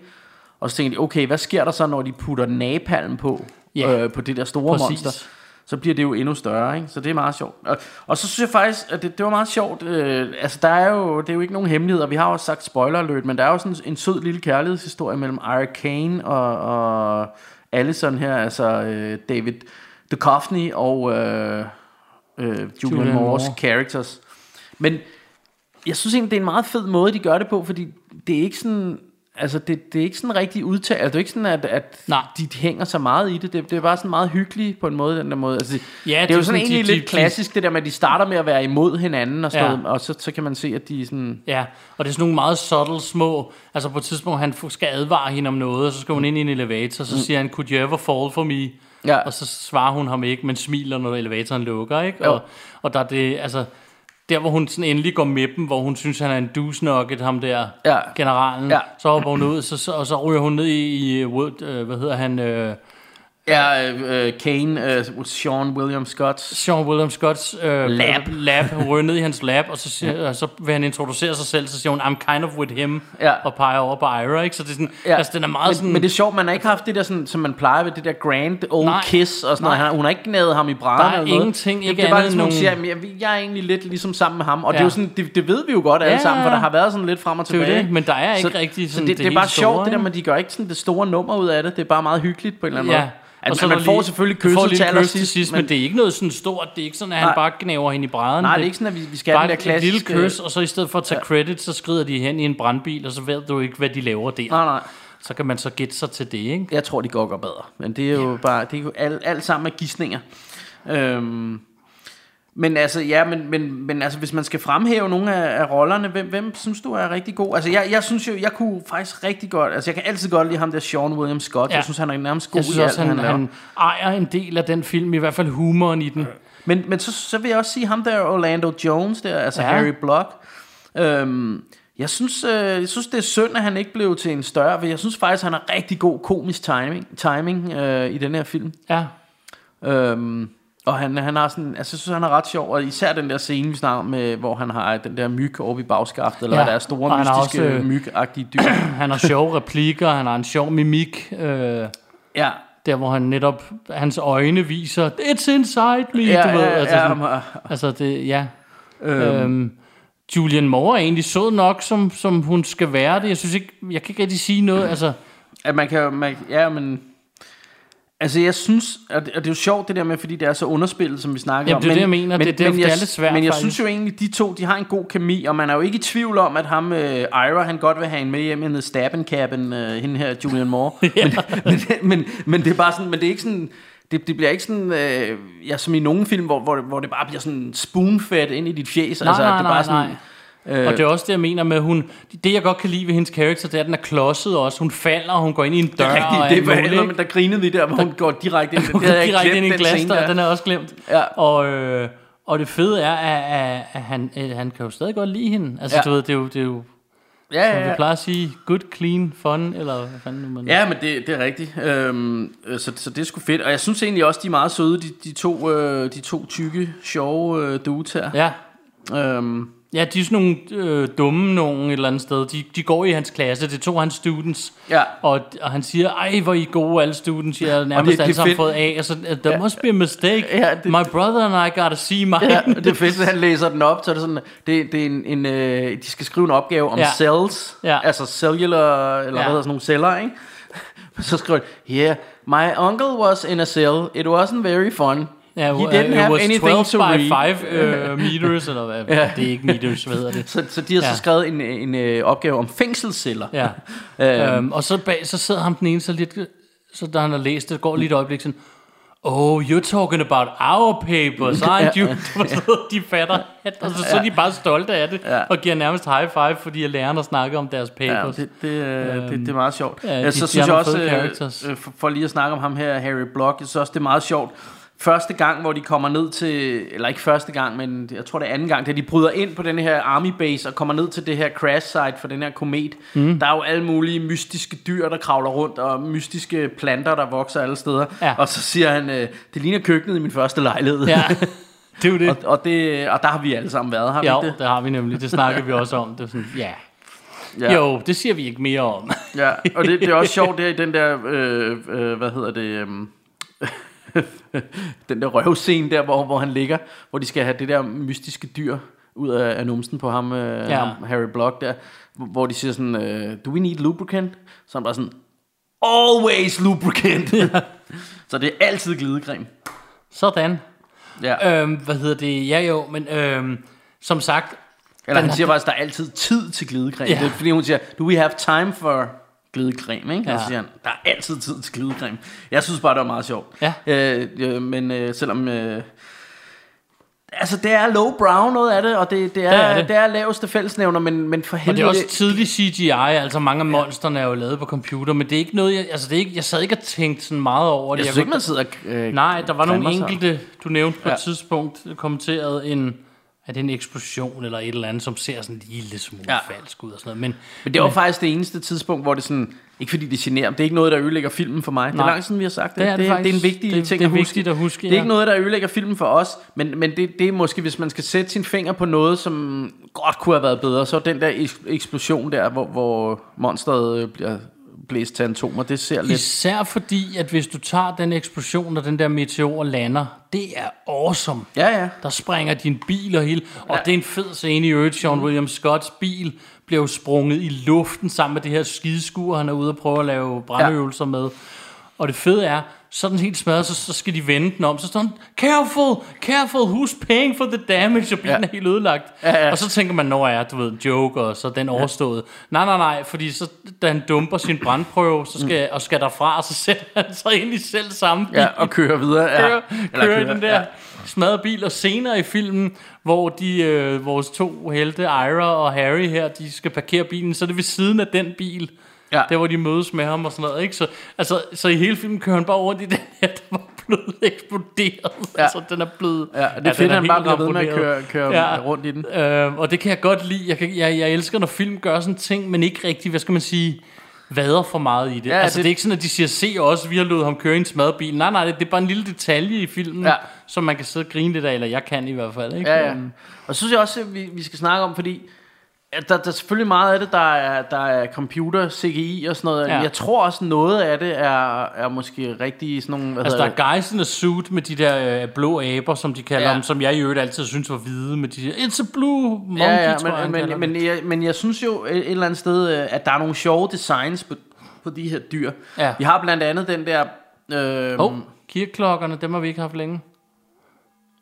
Speaker 4: Og så tænker de, okay, hvad sker der så, når de putter napalm på,
Speaker 3: Ja,
Speaker 4: yeah. øh, på det der store
Speaker 3: præcis.
Speaker 4: monster? Så bliver det jo endnu større, ikke? Så det er meget sjovt. Og, og så synes jeg faktisk, at det, det var meget sjovt. Øh, altså, der er jo, det er jo ikke nogen hemmeligheder. Vi har jo også sagt spoiler alert, men der er jo sådan en sød lille kærlighedshistorie mellem Ira Kane og, og Allison her, altså øh, David Duchovny og øh, øh, Julian,
Speaker 3: Julian
Speaker 4: Julian Moores
Speaker 3: Moore.
Speaker 4: characters. Men jeg synes egentlig, det er en meget fed måde, de gør det på, fordi det er ikke sådan... Altså, det, det er ikke sådan rigtig udtalt. Altså, det er ikke sådan, at, at
Speaker 3: Nej.
Speaker 4: de hænger så meget i det. det. Det er bare sådan meget hyggeligt på en måde, den der måde. Altså,
Speaker 3: Ja,
Speaker 4: det, er
Speaker 3: det er
Speaker 4: jo sådan
Speaker 3: sådan, de-
Speaker 4: egentlig
Speaker 3: de-
Speaker 4: lidt
Speaker 3: de-
Speaker 4: klassisk, det der med, at de starter med at være imod hinanden, og, sådan
Speaker 3: Ja.
Speaker 4: noget, og så, så kan man se, at de er sådan...
Speaker 3: Ja, og det er sådan nogle meget subtle små... Altså på et tidspunkt, han f- skal advare hende om noget, og så skal hun ind i en elevator, så siger han, could you ever fall for me?
Speaker 4: Mm. Ja.
Speaker 3: Og så svarer hun ham ikke, men smiler, når elevatoren lukker, ikke?
Speaker 4: Jo.
Speaker 3: Og, og der er det, altså... Der, hvor hun sådan endelig går med dem, hvor hun synes, han er en douche ham der,
Speaker 4: Ja.
Speaker 3: generalen,
Speaker 4: Ja.
Speaker 3: så hopper hun ud, så, så, og så ryger hun ned i, i Wood, øh, hvad hedder han, øh,
Speaker 4: Ja, øh, øh, Kane, øh, Sean William Scott.
Speaker 3: Sean William Scotts øh,
Speaker 4: Lab.
Speaker 3: lab. Hun ryger ned i hans lab, og så, siger, og så vil han introducere sig selv, så siger hun, I'm kind of with him,
Speaker 4: Ja.
Speaker 3: og peger over på Ira, ikke? Så det er sådan, ja. altså, den er meget
Speaker 4: men,
Speaker 3: sådan...
Speaker 4: Men det er sjovt, man har ikke haft det der, sådan, som man plejer ved det der grand old
Speaker 3: Nej.
Speaker 4: nej, kiss og sådan
Speaker 3: Nej.
Speaker 4: noget. Han- Hun har ikke gnædet ham i brænderne
Speaker 3: Der er
Speaker 4: eller noget.
Speaker 3: ingenting, ikke
Speaker 4: det er bare
Speaker 3: andet
Speaker 4: ligesom, nogen... hun
Speaker 3: end
Speaker 4: siger, jamen, jeg, jeg er egentlig lidt ligesom sammen med ham. Og ja. det,
Speaker 3: Ja.
Speaker 4: er jo sådan, det, det ved vi jo godt alle
Speaker 3: Ja,
Speaker 4: ja, sammen, for
Speaker 3: ja,
Speaker 4: der
Speaker 3: ja.
Speaker 4: har været sådan lidt frem og
Speaker 3: er jo
Speaker 4: tilbage.
Speaker 3: det, men der er ikke rigtig sådan
Speaker 4: så det,
Speaker 3: det
Speaker 4: det er
Speaker 3: helt
Speaker 4: bare
Speaker 3: store,
Speaker 4: sjovt, det der
Speaker 3: ikke?
Speaker 4: med, de gør ikke sådan det store nummer ud af det. Det er bare meget hyggeligt på en eller anden
Speaker 3: Ja.
Speaker 4: måde. Altså,
Speaker 3: er
Speaker 4: man
Speaker 3: der
Speaker 4: får selvfølgelig
Speaker 3: man får
Speaker 4: kysset
Speaker 3: lige
Speaker 4: til
Speaker 3: et kys
Speaker 4: allersidst,
Speaker 3: til sidst, men,
Speaker 4: men-
Speaker 3: det er ikke noget sådan stort. Det er ikke sådan, at han
Speaker 4: Nej.
Speaker 3: bare gnæver hende i brædderne.
Speaker 4: Nej, det er ikke sådan, at vi- vi skal
Speaker 3: bare
Speaker 4: have den
Speaker 3: et-
Speaker 4: der
Speaker 3: et lille
Speaker 4: klassiske-
Speaker 3: kys, og så i stedet for at tage credit, så skrider de hen i en brandbil, og så ved du ikke, hvad de laver der.
Speaker 4: Nej, nej.
Speaker 3: Så kan man så gætte sig til det, ikke?
Speaker 4: Jeg tror, de går godt bedre. Men det er jo bare, det er jo alt, alt sammen med gissninger. Øhm, men altså, ja, men, men, men altså, hvis man skal fremhæve nogle af, af rollerne, hvem, hvem synes du er rigtig god? Altså, jeg, jeg synes jo, jeg kunne faktisk rigtig godt, altså, jeg kan altid godt lide ham der Sean William Scott.
Speaker 3: Ja.
Speaker 4: Ja. Jeg synes, han er nærmest god
Speaker 3: Jeg synes
Speaker 4: i alt,
Speaker 3: også, han,
Speaker 4: laver.
Speaker 3: han ejer en del af den film, i hvert fald humoren i den.
Speaker 4: Men, men så, så vil jeg også sige ham der Orlando Jones der, altså
Speaker 3: Ja.
Speaker 4: ja. Harry Block. Øhm, jeg synes, øh, jeg synes, det er synd, at han ikke blev til en større, for jeg synes faktisk, han har rigtig god komisk timing, timing øh, i den her film.
Speaker 3: Ja,
Speaker 4: Øhm, og han, han har sådan, altså, jeg synes, han er ret sjov, og især den der scene, vi snakker om, med, hvor han har den der myg oppe i bagskaftet, eller
Speaker 3: Ja,
Speaker 4: ja. der er
Speaker 3: og
Speaker 4: store,
Speaker 3: han har
Speaker 4: mystiske
Speaker 3: også,
Speaker 4: også,
Speaker 3: øh,
Speaker 4: myg-agtige dyr. *clears throat*
Speaker 3: han har sjove replikker, han har en sjov mimik. Øh,
Speaker 4: ja,
Speaker 3: der hvor han netop, hans øjne viser, it's inside me,
Speaker 4: ja,
Speaker 3: du ved.
Speaker 4: ja,
Speaker 3: altså,
Speaker 4: ja,
Speaker 3: sådan,
Speaker 4: ja,
Speaker 3: altså det, ja. Øhm. Øhm, Julian Moore er egentlig sød nok, som, som hun skal være det. Jeg synes ikke, jeg kan ikke rigtig sige noget. Altså,
Speaker 4: at man kan, man, ja, men... Altså, jeg synes, at, at det er jo sjovt det der med, fordi det er så underspillet, som vi snakker
Speaker 3: Jamen,
Speaker 4: om.
Speaker 3: det er det, jeg mener. Det er derfor, det er lidt svært,
Speaker 4: Men jeg
Speaker 3: faktisk.
Speaker 4: synes jo egentlig, de to, de har en god kemi, og man er jo ikke i tvivl om, at ham, øh, Ira, han godt vil have en med hjem, hende Stabbencappen, øh, hende her, Julian Moore.
Speaker 3: *laughs*
Speaker 4: men, men, men, men, det er bare sådan, men det er ikke sådan, det, det bliver ikke sådan, øh, ja, som i nogle film, hvor, hvor, det, hvor det bare bliver sådan spoonfed ind i dit fjes.
Speaker 3: nej, altså, nej,
Speaker 4: det er
Speaker 3: nej,
Speaker 4: bare
Speaker 3: sådan, nej. Øh, og det er også det, jeg mener med, hun... Det, jeg godt kan lide ved hendes karakter, det er, at den er klodset også. Hun falder, og hun går ind i en dør.
Speaker 4: Det er
Speaker 3: og
Speaker 4: rigtigt, det
Speaker 3: alt
Speaker 4: var
Speaker 3: muligt,
Speaker 4: heller,
Speaker 3: ikke?
Speaker 4: men der grinede vi der, hvor hun går
Speaker 3: *laughs*
Speaker 4: direkte ind.
Speaker 3: Det
Speaker 4: havde
Speaker 3: er
Speaker 4: jeg
Speaker 3: direkte
Speaker 4: glemt,
Speaker 3: ind i en
Speaker 4: den scene
Speaker 3: glasdør,
Speaker 4: der.
Speaker 3: den er også glemt.
Speaker 4: Ja.
Speaker 3: Og, øh, og det fede er, at, at, at han, at han kan jo stadig godt lide hende. Altså, ja.
Speaker 4: Ja.
Speaker 3: du ved, det er jo, det er jo
Speaker 4: Ja, ja,
Speaker 3: som
Speaker 4: ja.
Speaker 3: vi plejer at sige, good, clean, fun, eller hvad fanden nu man...
Speaker 4: Ja, men det, det er rigtigt. Øhm, øh, så, så det er sgu fedt. Og jeg synes egentlig også, de er meget søde, de, de, to, øh, de to tykke, sjove øh, dudes her.
Speaker 3: ja.
Speaker 4: Øhm,
Speaker 3: Ja, de er sådan nogle øh, dumme nogen et eller andet sted. De, de går i hans klasse, det er to af hans students.
Speaker 4: Ja.
Speaker 3: Og, og han siger, ej, hvor I er gode alle students, jeg har
Speaker 4: det-
Speaker 3: nærmest
Speaker 4: det er
Speaker 3: alle sammen
Speaker 4: fedt.
Speaker 3: fået A. Og så, there must be a mistake.
Speaker 4: Ja, det-
Speaker 3: My brother and I gotta see mine.
Speaker 4: ja, og det
Speaker 3: *laughs*
Speaker 4: er fedt, at han læser den op, så er det sådan, det, det er en, en øh, de skal skrive en opgave om
Speaker 3: Ja.
Speaker 4: ja. cells,
Speaker 3: Ja.
Speaker 4: altså cellular, eller
Speaker 3: Ja.
Speaker 4: ja. hvad hedder sådan nogle celler, ikke? *laughs* Så skriver de, yeah, my uncle was in a cell. It wasn't very fun.
Speaker 3: Ja,
Speaker 4: He didn't
Speaker 3: it
Speaker 4: have
Speaker 3: was
Speaker 4: anything
Speaker 3: 12
Speaker 4: øh, to
Speaker 3: by
Speaker 4: read. *laughs*
Speaker 3: 5 uh, meters, eller hvad?
Speaker 4: Ja.
Speaker 3: ja. Det er ikke meters, hvad hedder det?
Speaker 4: Så, så de har ja.
Speaker 3: Ja.
Speaker 4: så skrevet en, en øh, opgave om fængselsceller. *laughs*
Speaker 3: Ja. øhm, og så, bag, så sidder ham den ene så lidt, så da han har læst det, går lige et øjeblik sådan, Oh, you're talking about our
Speaker 4: *laughs*
Speaker 3: papers, aren't you? *laughs* de fatter, at altså, så er de bare stolte af det, og giver nærmest high five, fordi at lærerne snakker om deres
Speaker 4: Ja,
Speaker 3: papers.
Speaker 4: det, det, øhm, det, det er meget sjovt.
Speaker 3: ja,
Speaker 4: Ja,
Speaker 3: de-
Speaker 4: så
Speaker 3: de
Speaker 4: synes
Speaker 3: har
Speaker 4: jeg
Speaker 3: nogle
Speaker 4: også,
Speaker 3: fede
Speaker 4: øh,
Speaker 3: characters.
Speaker 4: øh, for, for lige at snakke om ham her, Harry Block, jeg synes også, det er meget sjovt. Første gang, hvor de kommer ned til, eller ikke første gang, men jeg tror det er anden gang, da de bryder ind på den her army base og kommer ned til det her crash site for den her komet. Mm. Der er jo alle mulige mystiske dyr, der kravler rundt, og mystiske planter, der vokser alle steder.
Speaker 3: Ja.
Speaker 4: Og så siger han, øh, det ligner køkkenet i min første lejlighed. *laughs*
Speaker 3: Ja, det er jo det.
Speaker 4: og, og, det, og der har vi alle sammen været, har vi
Speaker 3: Ja,
Speaker 4: ikke det?
Speaker 3: det har vi nemlig. Det snakker vi også om. Det er sådan, ja.
Speaker 4: Ja.
Speaker 3: Jo, det siger vi ikke mere om.
Speaker 4: Ja, og det, det
Speaker 3: *laughs*
Speaker 4: er også sjovt der i den der, øh, øh, hvad hedder det, øh, *laughs* den der røvscene der, hvor, hvor han ligger, hvor de skal have det der mystiske dyr ud af, af numsen på ham, øh, ja.
Speaker 3: Ja.
Speaker 4: ham, Harry Block der, hvor- hvor de siger sådan, øh, do we need lubricant? Så han bare sådan, always lubricant. Ja. *laughs* Så det er altid glidecreme.
Speaker 3: Sådan.
Speaker 4: Ja. Øh,
Speaker 3: Øhm, hvad hedder det? Ja jo, men øhm, som sagt,
Speaker 4: Eller han
Speaker 3: den-
Speaker 4: siger faktisk, der er altid tid til glidecreme.
Speaker 3: Ja.
Speaker 4: Ja. Det er, fordi hun siger, do we have time for glidecreme, ikke? Ja.
Speaker 3: Ja.
Speaker 4: Og så siger han, der er altid tid til glidecreme. Jeg synes bare, det var meget sjovt.
Speaker 3: Ja.
Speaker 4: Øh, øh, men øh, selvom... Øh, altså, det er lowbrow noget af det, og det, det, er, det,
Speaker 3: er
Speaker 4: er, det.
Speaker 3: det.
Speaker 4: det er laveste fællesnævner, men, men for
Speaker 3: og det
Speaker 4: helvede...
Speaker 3: er også tidlig CGI, altså mange af monsterne er jo lavet på computer, men det er ikke noget, jeg, altså det er ikke, jeg sad ikke og tænkte sådan meget over det.
Speaker 4: jeg synes
Speaker 3: kunne-
Speaker 4: ikke, man sidder... og, Øh,
Speaker 3: Nej, der var nogle
Speaker 4: klandrer sig.
Speaker 3: enkelte, du nævnte på
Speaker 4: Ja.
Speaker 3: et tidspunkt, kommenterede en, er det en eksplosion eller et eller andet, som ser sådan en lille smule
Speaker 4: Ja.
Speaker 3: ja. falsk ud og sådan noget. Men,
Speaker 4: Men det var faktisk det eneste tidspunkt, hvor det sådan... Ikke fordi det generer, men det er ikke noget, der ødelægger filmen for mig. Det er
Speaker 3: Nej.
Speaker 4: langt siden, vi har sagt det.
Speaker 3: Det er det
Speaker 4: det, det er en
Speaker 3: faktisk.
Speaker 4: vigtig
Speaker 3: Det-
Speaker 4: ting
Speaker 3: det er
Speaker 4: at huske.
Speaker 3: vigtigt at huske,
Speaker 4: Det er
Speaker 3: ja.
Speaker 4: ikke noget, der ødelægger filmen for os, men, men det, det er måske, hvis man skal sætte sin finger på noget, som godt kunne have været bedre, så er den der eks- eksplosion der, hvor, hvor monsteret øh, bliver blæst til atomer, det ser lidt...
Speaker 3: især fordi, at hvis du tager den eksplosion, og den der meteor lander, det er awesome.
Speaker 4: Ja, ja.
Speaker 3: Der springer din bil og hele... Og ja. det er en fed scene i øvrigt. John William Scotts bil bliver jo sprunget i luften sammen med det her skideskur, han er ude og prøve at lave brandøvelser ja. med. Og det fede er, så er den helt smadret, så, så skal de vende den om. Så står den, careful, careful, who's paying for the damage? Og bilen
Speaker 4: Ja.
Speaker 3: ja. er helt ødelagt.
Speaker 4: Ja, ja.
Speaker 3: Og så tænker man, når er, du ved, en joke, og så er den overstået. Nej, nej, nej, fordi så, da han dumper sin brandprøve, så skal, og skal derfra, så sætter han sig ind i selv samme bil
Speaker 4: Ja, og kører videre. Ja.
Speaker 3: kører,
Speaker 4: Eller
Speaker 3: kører i den der
Speaker 4: Ja.
Speaker 3: ja. smadrede bil, og senere i filmen, hvor de, øh, vores to helte, Ira og Harry her, de skal parkere bilen, så er det ved siden af den bil,
Speaker 4: Ja.
Speaker 3: ja. der hvor de mødes med ham og sådan noget, ikke? Så, altså, så i hele filmen kører han bare rundt i den her, *laughs* der var blevet eksploderet,
Speaker 4: Ja.
Speaker 3: ja. altså den er blevet...
Speaker 4: Ja, det er
Speaker 3: den
Speaker 4: fedt, at han
Speaker 3: helt
Speaker 4: bare bliver ved med at
Speaker 3: ramponeret.
Speaker 4: køre- køre rundt i den.
Speaker 3: Øh, og det kan jeg godt lide, jeg, kan, jeg, jeg elsker, når film gør sådan ting, men ikke rigtig, hvad skal man sige vader for meget i det.
Speaker 4: Ja,
Speaker 3: Ja, altså,
Speaker 4: det-
Speaker 3: det, det er ikke sådan, at de siger, se os, vi har løbet ham køre i en smadret bil. Nej, nej, det, det er bare en lille detalje i filmen,
Speaker 4: Ja.
Speaker 3: ja. som man kan sidde og grine lidt af, eller jeg kan i hvert fald. Ikke?
Speaker 4: Ja, ja.
Speaker 3: Øhm,
Speaker 4: Og så synes jeg også, at vi, vi skal snakke om, fordi at der, der er selvfølgelig meget af det, der er, der er computer, CGI og sådan noget. Ja.
Speaker 3: Ja.
Speaker 4: Jeg tror også, noget af det er, er måske rigtig sådan nogle... Hvad
Speaker 3: Altså, der
Speaker 4: hedder
Speaker 3: er guys in a suit med de der øh, blå aber, som de kalder
Speaker 4: Ja.
Speaker 3: ja. dem, som jeg i øvrigt altid synes var hvide, med de der, it's a blue monkey,
Speaker 4: det? ja,
Speaker 3: tror jeg,
Speaker 4: ja,
Speaker 3: han
Speaker 4: men,
Speaker 3: kalder
Speaker 4: men, men, jeg, men jeg synes jo et et eller andet sted, øh, at der er nogle sjove designs på, på de her dyr.
Speaker 3: Ja.
Speaker 4: Vi har blandt andet den der... Øh,
Speaker 3: det. Hov, kirkeklokkerne, dem har vi ikke haft længe.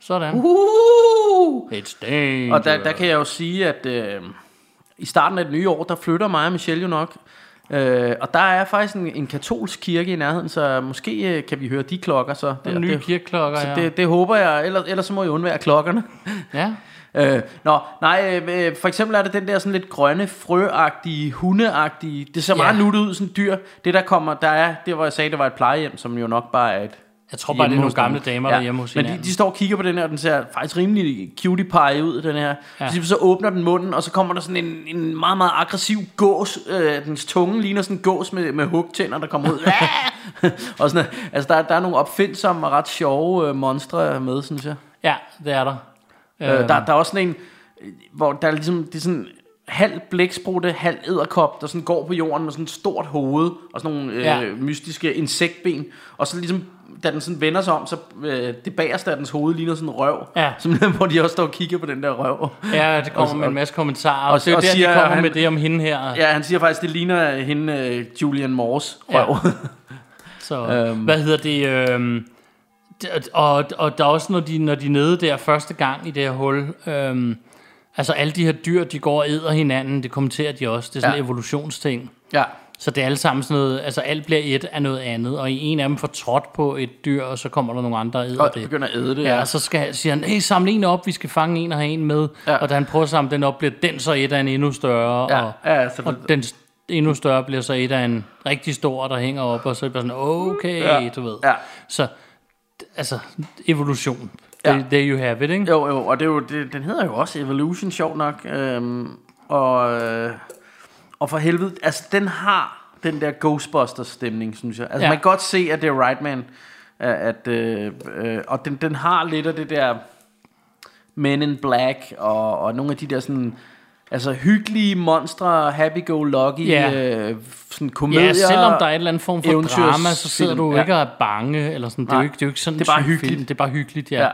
Speaker 3: Sådan.
Speaker 4: Uh!
Speaker 3: It's dangerous.
Speaker 4: Uhuh. Og der, der kan jeg jo sige, at øh, i starten af det nye år, der flytter mig og Michelle jo nok. Øh, og der er faktisk en, en katolsk kirke i nærheden, så måske øh, kan vi høre de klokker så.
Speaker 3: Det er nye
Speaker 4: det,
Speaker 3: kirkeklokker,
Speaker 4: så
Speaker 3: ja.
Speaker 4: det, det håber jeg, ellers, ellers så må jeg undvære klokkerne. *laughs*
Speaker 3: ja.
Speaker 4: Øh, nå, nej, øh, øh, for eksempel er det den der sådan lidt grønne, frøagtige, hundeagtige, det ser
Speaker 3: Ja.
Speaker 4: meget nuttet ud, sådan et dyr. Det der kommer, der er, det hvor jeg sagde, det var et plejehjem, som jo nok bare er et
Speaker 3: Jeg tror bare, det er
Speaker 4: hjemme
Speaker 3: nogle
Speaker 4: hos nogen.
Speaker 3: gamle damer, ja. der er hjemme hos
Speaker 4: Men de,
Speaker 3: hinanden.
Speaker 4: de står og kigger på den her, og den ser faktisk rimelig cutie pie ud, den her. Ja.
Speaker 3: Ja.
Speaker 4: Så, så åbner den munden, og så kommer der sådan en, en meget, meget aggressiv gås. Øh, dens tunge ligner sådan en gås med, med hugtænder, der kommer
Speaker 3: *laughs*
Speaker 4: ud. *laughs* Ah! og sådan, altså, der, der er nogle opfindsomme og ret sjove øh, monstre med, synes jeg.
Speaker 3: Ja, det er der. Øhm.
Speaker 4: Øh, der, der er også sådan en, øh, hvor der er ligesom, det er sådan, halv blæksprutte, halv æderkop, der sådan går på jorden med sådan et stort hoved og sådan nogle øh,
Speaker 3: Ja.
Speaker 4: mystiske insektben. Og så ligesom, da den sådan vender sig om, så øh, det bagerste af dens hoved ligner sådan en røv.
Speaker 3: Ja.
Speaker 4: Som, *laughs* hvor de også står og kigger på den der røv.
Speaker 3: Ja, det kommer med en masse kommentarer, og,
Speaker 4: og-
Speaker 3: og det er
Speaker 4: og
Speaker 3: der,
Speaker 4: siger,
Speaker 3: de kommer
Speaker 4: at han-
Speaker 3: med det om hende her. Ja.
Speaker 4: Ja, han siger faktisk, det ligner hende øh, Julian Moores
Speaker 3: Ja.
Speaker 4: røv. Ja.
Speaker 3: Så, øhm. hvad hedder det? Øhm, det- og, og der er også, når de, når de er nede der første gang i det her hul, øhm, altså alle de her dyr, de går og æder hinanden, det kommenterer de også, det er sådan
Speaker 4: Ja.
Speaker 3: en evolutionsting.
Speaker 4: *laughs* ja.
Speaker 3: Så det er alle sammen sådan noget, altså alt bliver et af noget andet, og en af dem får trådt på et dyr, og så kommer der nogle andre og æder
Speaker 4: Og
Speaker 3: det.
Speaker 4: begynder at æde det.
Speaker 3: Ja, og så skal, siger han, hey, samle en op, vi skal fange en og have en med.
Speaker 4: Ja.
Speaker 3: Ja. Og da han prøver at samle den op, bliver den så et af en endnu større.
Speaker 4: Ja,
Speaker 3: Og,
Speaker 4: ja, så
Speaker 3: og
Speaker 4: det-
Speaker 3: den s- endnu større bliver så et af en rigtig stor, der hænger op, og så er det bare sådan, okay, ja. du ved.
Speaker 4: Ja.
Speaker 3: Så, d- altså, evolution.
Speaker 4: Ja.
Speaker 3: Ja. There, there you have it, ikke?
Speaker 4: Jo, jo, og det er jo, det, den hedder jo også Evolution, sjov nok. Øhm, og, øh, og for helvede, altså den har den der Ghostbusters-stemning, synes jeg. Altså ja.
Speaker 3: Ja.
Speaker 4: man kan godt se, at det er Rightman. øh, At, øh, øh, og den, den har lidt af det der Men in Black, og, og nogle af de der sådan... Altså hyggelige monstre, happy-go-lucky,
Speaker 3: Ja.
Speaker 4: øh, sådan komedier.
Speaker 3: Ja, selvom der er et eller andet form for
Speaker 4: eventyrsfilm,
Speaker 3: drama, så sidder du
Speaker 4: ja.
Speaker 3: ikke og er bange, eller sådan. Det er
Speaker 4: Nej.
Speaker 3: jo ikke, det er jo ikke sådan
Speaker 4: Det er bare
Speaker 3: en type
Speaker 4: hyggeligt.
Speaker 3: Film. Det er bare hyggeligt, ja.
Speaker 4: Ja.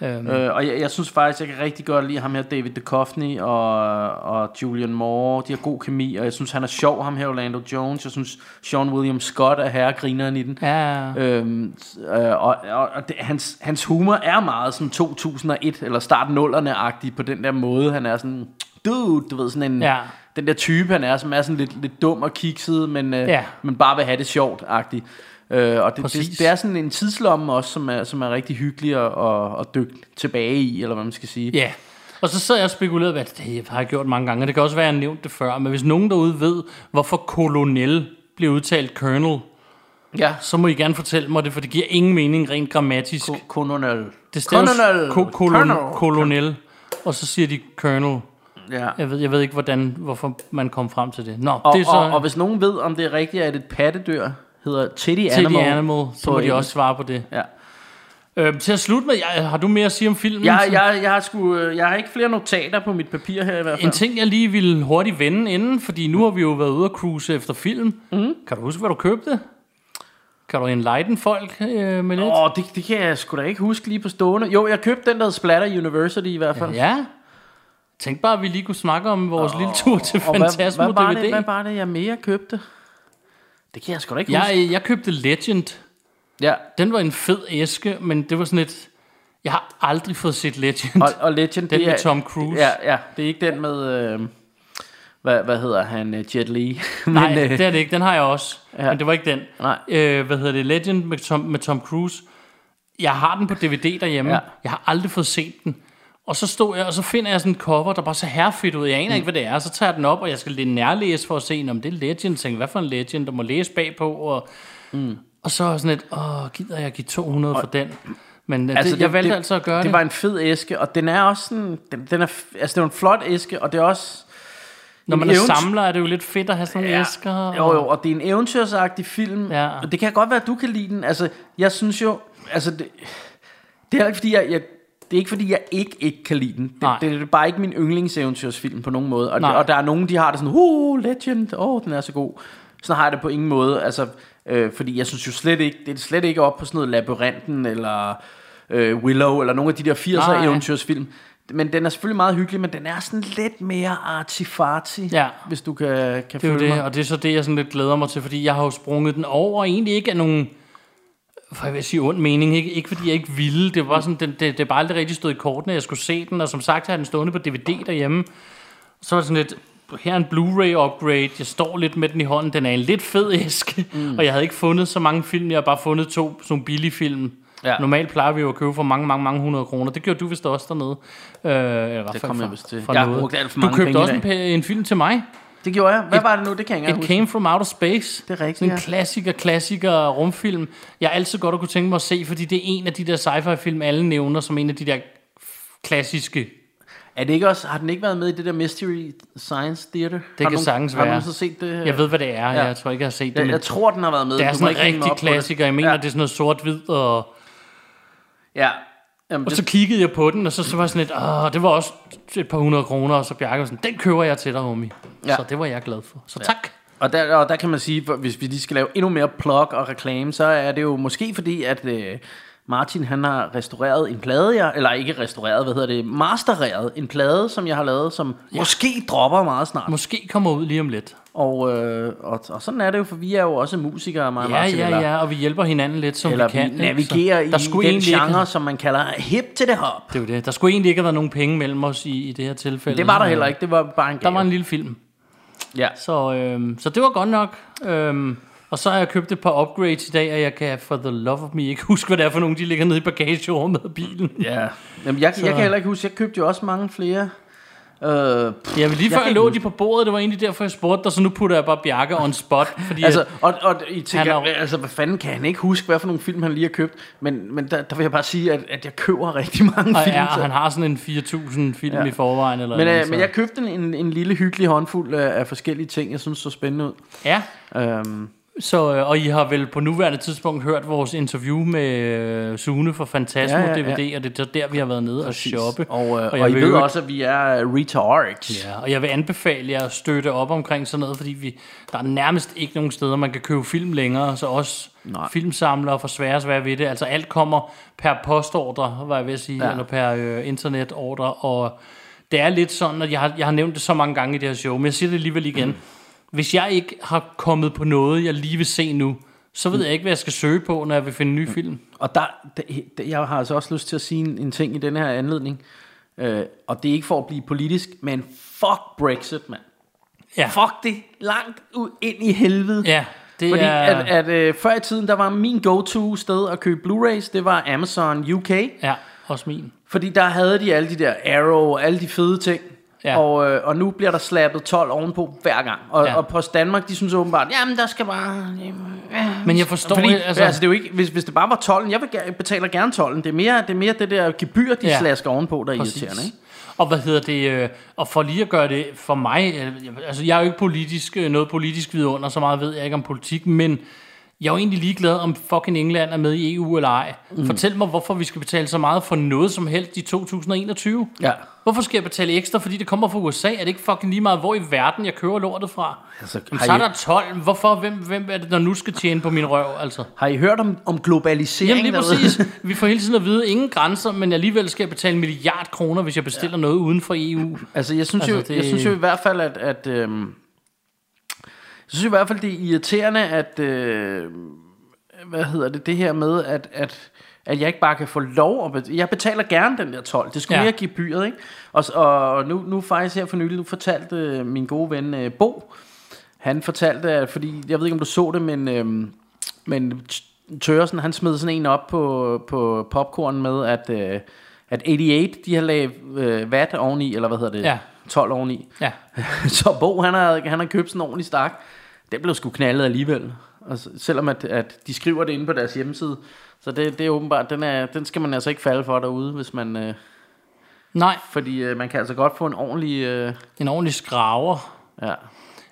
Speaker 3: ja.
Speaker 4: Øhm. Øh, og jeg, jeg synes faktisk, jeg kan rigtig godt lide ham her, David Duchovny og, og Julian Moore. De har god kemi, og jeg synes, han er sjov, ham her Orlando Jones. Jeg synes, Sean William Scott er herregrineren i den.
Speaker 3: Ja.
Speaker 4: Øhm, s- øh, og og, og det, hans, hans humor er meget sådan 2001, eller start 0'erne-agtig på den der måde. Han er sådan, dude, du ved, sådan en...
Speaker 3: Ja.
Speaker 4: Den der type, han er, som er sådan lidt, lidt dum og kikset, men, øh,
Speaker 3: Ja.
Speaker 4: men bare vil have det sjovt-agtig. Øh, og det, det,
Speaker 3: Præcis.
Speaker 4: det, er sådan en tidslomme også, som er, som er rigtig hyggelig at, at, at dykke tilbage i, eller hvad man skal sige.
Speaker 3: Ja, og så sad jeg og spekulerede, hvad det har jeg gjort mange gange, og det kan også være, at jeg har nævnt det før, men hvis nogen derude ved, hvorfor kolonel bliver udtalt colonel,
Speaker 4: Ja.
Speaker 3: så må I gerne fortælle mig det, for det giver ingen mening rent grammatisk.
Speaker 4: Ko- Kononel.
Speaker 3: det staves ko- kolon-
Speaker 4: Colonel.
Speaker 3: kolonel, og så siger de colonel.
Speaker 4: Ja.
Speaker 3: Jeg ved, jeg ved ikke, hvordan, hvorfor man kom frem til det. Nå,
Speaker 4: Og,
Speaker 3: det er så
Speaker 4: og, og hvis nogen ved, om det er rigtigt, at et pattedyr hedder Teddy
Speaker 3: til
Speaker 4: Animal,
Speaker 3: animal, animal, så
Speaker 4: på
Speaker 3: må de
Speaker 4: engelsk.
Speaker 3: også svare på det.
Speaker 4: Ja.
Speaker 3: Øhm, til at slutte med, jeg, har du mere at sige om filmen?
Speaker 4: Jeg, jeg, jeg, har sgu, øh, jeg har ikke flere notater på mit papir her i hvert
Speaker 3: En
Speaker 4: fald.
Speaker 3: ting, jeg lige ville hurtigt vende inden, fordi nu har vi jo været ude at cruise efter film. Mm.
Speaker 4: Mhm.
Speaker 3: Kan du huske, hvad du købte? Kan du enlighten folk øh, med lidt?
Speaker 4: Åh, oh, det, det kan jeg sgu da ikke huske lige på stående. Jo, jeg købte den, der hed Splatter University i hvert fald.
Speaker 3: Ja. Tænk bare, at vi lige kunne snakke om vores oh, lille tur til
Speaker 4: Og hvad,
Speaker 3: Fantasmo
Speaker 4: hvad, var det,
Speaker 3: DVD.
Speaker 4: hvad var det, jeg mere købte? Det kan jeg sgu da ikke huske.
Speaker 3: jeg, jeg købte Legend.
Speaker 4: Ja.
Speaker 3: Den var en fed æske, men det var sådan et... Jeg har aldrig fået set Legend.
Speaker 4: Og, og Legend,
Speaker 3: Den
Speaker 4: det
Speaker 3: med
Speaker 4: er,
Speaker 3: Tom Cruise.
Speaker 4: Ja, ja, det er ikke den med, øh, hvad, hvad hedder han, øh, Jet Li. *laughs* Men,
Speaker 3: Nej,
Speaker 4: øh,
Speaker 3: det er det ikke. Den har jeg også.
Speaker 4: Ja.
Speaker 3: Ja. Men det var ikke den.
Speaker 4: Nej.
Speaker 3: Øh, hvad hedder det? Legend med Tom, med Tom Cruise. Jeg har den på DVD derhjemme.
Speaker 4: Ja.
Speaker 3: Ja. Jeg har aldrig fået set den. Og så stod jeg, og så finder jeg sådan en cover, der bare ser herrefedt ud. Jeg aner mm. ikke, hvad det er. Så tager jeg den op, og jeg skal lidt nærlæse for at se, om det er Legend. Tænker, hvad for en Legend? Der må læse bagpå. Og, mm. og så er jeg sådan lidt, åh, gider jeg give 200 for den? Men altså, det, jeg valgte altså at gøre det.
Speaker 4: det. var en fed æske, og den er også sådan, den, den er, f- altså det er jo en flot æske, og det er også...
Speaker 3: Når
Speaker 4: en
Speaker 3: man er
Speaker 4: event-
Speaker 3: samler, er det jo lidt fedt at have sådan nogle æsker. og-
Speaker 4: Jo, jo, og det er en eventyrsagtig film.
Speaker 3: Ja.
Speaker 4: Og det kan godt være, at du kan lide den. Altså, jeg synes jo... Altså, det, det er heller ikke, fordi jeg... jeg det er ikke fordi, jeg ikke, ikke kan lide den. Det,
Speaker 3: Nej.
Speaker 4: det, det er bare ikke min yndlingseventyrsfilm på nogen måde. Og,
Speaker 3: Nej.
Speaker 4: og der er nogen, de har det sådan, uh, legend, åh, oh, den er så god. Sådan har jeg det på ingen måde. Altså, øh, fordi jeg synes jo slet ikke, det er slet ikke op på sådan noget Labyrinten, eller øh, Willow, eller nogle af de der 80'er
Speaker 3: Nej.
Speaker 4: eventyrsfilm. Men den er selvfølgelig meget hyggelig, men den er sådan lidt mere artifarti,
Speaker 3: Ja.
Speaker 4: hvis du kan, kan
Speaker 3: Det er jo
Speaker 4: følge mig.
Speaker 3: det, og det er så det, jeg sådan lidt glæder mig til, fordi jeg har jo sprunget den over, og egentlig ikke af nogen, for jeg vil sige ond mening, ikke, ikke fordi jeg ikke ville, det var sådan, det, det, det er bare aldrig rigtig stået i kortene, jeg skulle se den, og som sagt har jeg den stående på DVD derhjemme, så var det sådan lidt, her er en Blu-ray upgrade, jeg står lidt med den i hånden, den er en lidt fed æske, mm. og jeg havde ikke fundet så mange film, jeg har bare fundet to sådan nogle billige film,
Speaker 4: Ja.
Speaker 3: ja. Normalt plejer vi jo at købe for mange, mange, mange hundrede kroner. Det gjorde du vist også dernede. Øh, eller det
Speaker 4: kom jeg vist til.
Speaker 3: For
Speaker 4: Jeg har
Speaker 3: noget.
Speaker 4: brugt alt for
Speaker 3: du
Speaker 4: mange
Speaker 3: købte
Speaker 4: penge i
Speaker 3: også en, pa- en film til mig.
Speaker 4: Det gjorde jeg. Hvad var det nu? Det kan jeg ikke
Speaker 3: It
Speaker 4: engang huske.
Speaker 3: Came From Outer Space.
Speaker 4: Det er rigtigt,
Speaker 3: Sådan en
Speaker 4: ja.
Speaker 3: klassiker, klassiker rumfilm. Jeg altid godt at kunne tænke mig at se, fordi det er en af de der sci-fi film, alle nævner som en af de der klassiske.
Speaker 4: Er det ikke også, har den ikke været med i det der Mystery Science Theater? Det
Speaker 3: kan sagtens
Speaker 4: Har
Speaker 3: være.
Speaker 4: nogen så set det?
Speaker 3: Jeg ved, hvad det er.
Speaker 4: Ja.
Speaker 3: Ja. Jeg tror ikke, jeg har set det.
Speaker 4: jeg,
Speaker 3: men
Speaker 4: jeg tror, den har været med.
Speaker 3: det er
Speaker 4: Du må
Speaker 3: sådan en
Speaker 4: ikke hænge mig
Speaker 3: rigtig
Speaker 4: op på det.
Speaker 3: klassiker. Jeg mener,
Speaker 4: Ja.
Speaker 3: ja. det er sådan noget sort-hvid og...
Speaker 4: Ja. Jamen,
Speaker 3: Og
Speaker 4: det-
Speaker 3: så kiggede jeg på den, og så, så var jeg sådan lidt, Åh, det var også et par hundrede kroner, og så Bjarke var sådan, den køber jeg til dig, homie.
Speaker 4: Ja.
Speaker 3: Ja. Så det var jeg glad for. Så tak.
Speaker 4: Og der, og der kan man sige, for hvis vi lige skal lave endnu mere plug og reklame, så er det jo måske fordi, at øh, Martin han har restaureret en plade, jeg, eller ikke restaureret, hvad hedder det, mastereret en plade, som jeg har lavet, som ja. måske dropper meget snart.
Speaker 3: Måske kommer ud lige om lidt.
Speaker 4: Og, øh, og, og sådan er det jo, for vi er jo også musikere, mig og
Speaker 3: Ja,
Speaker 4: Martin,
Speaker 3: ja,
Speaker 4: eller,
Speaker 3: ja, og vi hjælper hinanden lidt, som
Speaker 4: eller
Speaker 3: vi kan.
Speaker 4: vi
Speaker 3: ikke?
Speaker 4: navigerer
Speaker 3: Så
Speaker 4: i den
Speaker 3: egentlig
Speaker 4: genre,
Speaker 3: Ikke,
Speaker 4: som man kalder hip til det hop.
Speaker 3: det er jo det. Der skulle egentlig ikke have været nogen penge mellem os i, i det her tilfælde.
Speaker 4: Det var der heller ikke, det var bare en
Speaker 3: Der
Speaker 4: gave.
Speaker 3: var en lille film.
Speaker 4: ja.
Speaker 3: Så, øhm, så det var godt nok. Øhm, og så har jeg købt et par upgrades i dag, og jeg kan for the love of me ikke *laughs* huske, hvad det er for nogle, de ligger nede i bagagerummet af bilen.
Speaker 4: Ja. Jamen, jeg, jeg kan heller ikke huske, jeg købte jo også mange flere. Øh,
Speaker 3: Ja, men lige
Speaker 4: Jeg
Speaker 3: før
Speaker 4: kan
Speaker 3: jeg lå
Speaker 4: ikke
Speaker 3: de på bordet, det var egentlig derfor, jeg spurgte dig, så nu putter jeg bare Bjarke on spot. Fordi
Speaker 4: Altså,
Speaker 3: altså,
Speaker 4: og, og I tænker,
Speaker 3: Han er jo-
Speaker 4: altså, hvad fanden kan han ikke huske, hvad for nogle film han lige har købt? Men, men der, der vil jeg bare sige, at, at jeg køber *laughs* rigtig mange
Speaker 3: og
Speaker 4: film.
Speaker 3: er,
Speaker 4: så-
Speaker 3: han har sådan en 4.000 film
Speaker 4: Ja.
Speaker 3: ja. i forvejen. Eller
Speaker 4: men,
Speaker 3: noget,
Speaker 4: øh, men jeg købte en, en, en lille hyggelig håndfuld af, af forskellige ting, jeg synes så spændende ud.
Speaker 3: Ja,
Speaker 4: Øhm,
Speaker 3: så, øh, og I har vel på nuværende tidspunkt hørt vores interview med øh, Sune fra Fantasmo
Speaker 4: Ja, ja,
Speaker 3: ja,
Speaker 4: ja.
Speaker 3: ja, DVD, og det er der, vi har været nede Præcis. og shoppe.
Speaker 4: Og, øh, og,
Speaker 3: jeg
Speaker 4: og I
Speaker 3: vil
Speaker 4: ved
Speaker 3: øvrigt-
Speaker 4: også, at vi er øh, retards.
Speaker 3: Ja, og jeg vil anbefale jer at støtte op omkring sådan noget, fordi vi, der er nærmest ikke nogen steder, man kan købe film længere, så også
Speaker 4: Nej.
Speaker 3: Nej. filmsamlere får svære og svære ved det. Altså alt kommer per postordre, var jeg ved at sige,
Speaker 4: Ja.
Speaker 3: ja. eller per øh, internetordre, og det er lidt sådan, at jeg har, jeg har nævnt det så mange gange i det her show, men jeg siger det alligevel igen. Mm. Hvis jeg ikke har kommet på noget, jeg lige vil se nu, så ved jeg ikke, hvad jeg skal søge på, når jeg vil finde en ny film.
Speaker 4: Og der, der, der, jeg har altså også lyst til at sige en, en ting i den her anledning, øh, og det er ikke for at blive politisk, men fuck Brexit, mand.
Speaker 3: Ja.
Speaker 4: Fuck det langt ud ind i helvede.
Speaker 3: Ja, det
Speaker 4: Fordi
Speaker 3: er...
Speaker 4: at, at øh, før i tiden, der var min go-to sted at købe Blu-rays, det var Amazon UK.
Speaker 3: ja, også min.
Speaker 4: Fordi der havde de alle de der Arrow og alle de fede ting. Ja.
Speaker 3: Ja.
Speaker 4: Og, øh, og nu bliver der slappet 12 ovenpå hver gang. Og, ja.
Speaker 3: Ja.
Speaker 4: og Post Danmark, de synes åbenbart, jamen der skal bare... Jamen, ja."
Speaker 3: Men jeg forstår
Speaker 4: Fordi,
Speaker 3: ikke,
Speaker 4: altså,
Speaker 3: altså-
Speaker 4: altså, det er jo ikke, hvis, hvis det bare var 12, jeg vil, gerne- betaler gerne 12. Det er mere det, er mere det der gebyr, de ja.
Speaker 3: Ja.
Speaker 4: slasker ovenpå, der er
Speaker 3: Præcis.
Speaker 4: irriterende. Ikke?
Speaker 3: Og hvad hedder det, øh, og for lige at gøre det for mig, øh, jeg- altså jeg er jo ikke politisk, øh, noget politisk vidunder, så meget ved jeg ikke om politik, men jeg er jo egentlig ligeglad, om fucking England er med i EU eller ej.
Speaker 4: Mhm.
Speaker 3: Mm. Fortæl mig, hvorfor vi skal betale så meget for noget som helst i 2021.
Speaker 4: Ja.
Speaker 3: Hvorfor skal jeg betale ekstra, fordi det kommer fra USA? Er det ikke fucking lige meget, hvor i verden jeg kører lortet fra?
Speaker 4: Altså,
Speaker 3: Jamen,
Speaker 4: har
Speaker 3: så er
Speaker 4: I-
Speaker 3: der 12. Hvorfor? Hvem, hvem er det, der nu skal tjene på min røv? Altså?
Speaker 4: Har I hørt om, om globalisering?
Speaker 3: Jamen lige
Speaker 4: derude?
Speaker 3: præcis. Vi får hele tiden at vide, ingen grænser, men alligevel skal jeg betale en milliard kroner, hvis jeg bestiller ja. noget uden for E EU.
Speaker 4: Altså, jeg synes,
Speaker 3: Altså,
Speaker 4: altså, jo, det...
Speaker 3: det-
Speaker 4: jeg synes jo i hvert fald, at... at øhm, jeg synes i hvert fald, det er irriterende, at... Øh, hvad hedder det? Det her med, at, at, at jeg ikke bare kan få lov at betale. Jeg betaler gerne den der 12. Det skulle ja.
Speaker 3: Ja.
Speaker 4: mere give byret, ikke? Og, s- og, og nu, nu faktisk her for nylig, nu fortalte øh, min gode ven øh, Bo, han fortalte, at, fordi jeg ved ikke, om du så det, men... Øh, men T- Tørresen, han smed sådan en op på, på popcorn med, at, øh, at 88, de har lagt øh, vat oveni, eller hvad hedder det?
Speaker 3: Ja.
Speaker 4: 12 oveni.
Speaker 3: Ja.
Speaker 4: *laughs* så Bo, han har, han har købt sådan en ordentlig stak. Det blev sgu knaldet alligevel. Altså, selvom at, at de skriver det inde på deres hjemmeside. Så det, det er åbenbart, den, er, den skal man altså ikke falde for derude, hvis man, øh,
Speaker 3: Nej,
Speaker 4: fordi øh, man kan altså godt få en ordentlig... Øh,
Speaker 3: en ordentlig skraver.
Speaker 4: ja.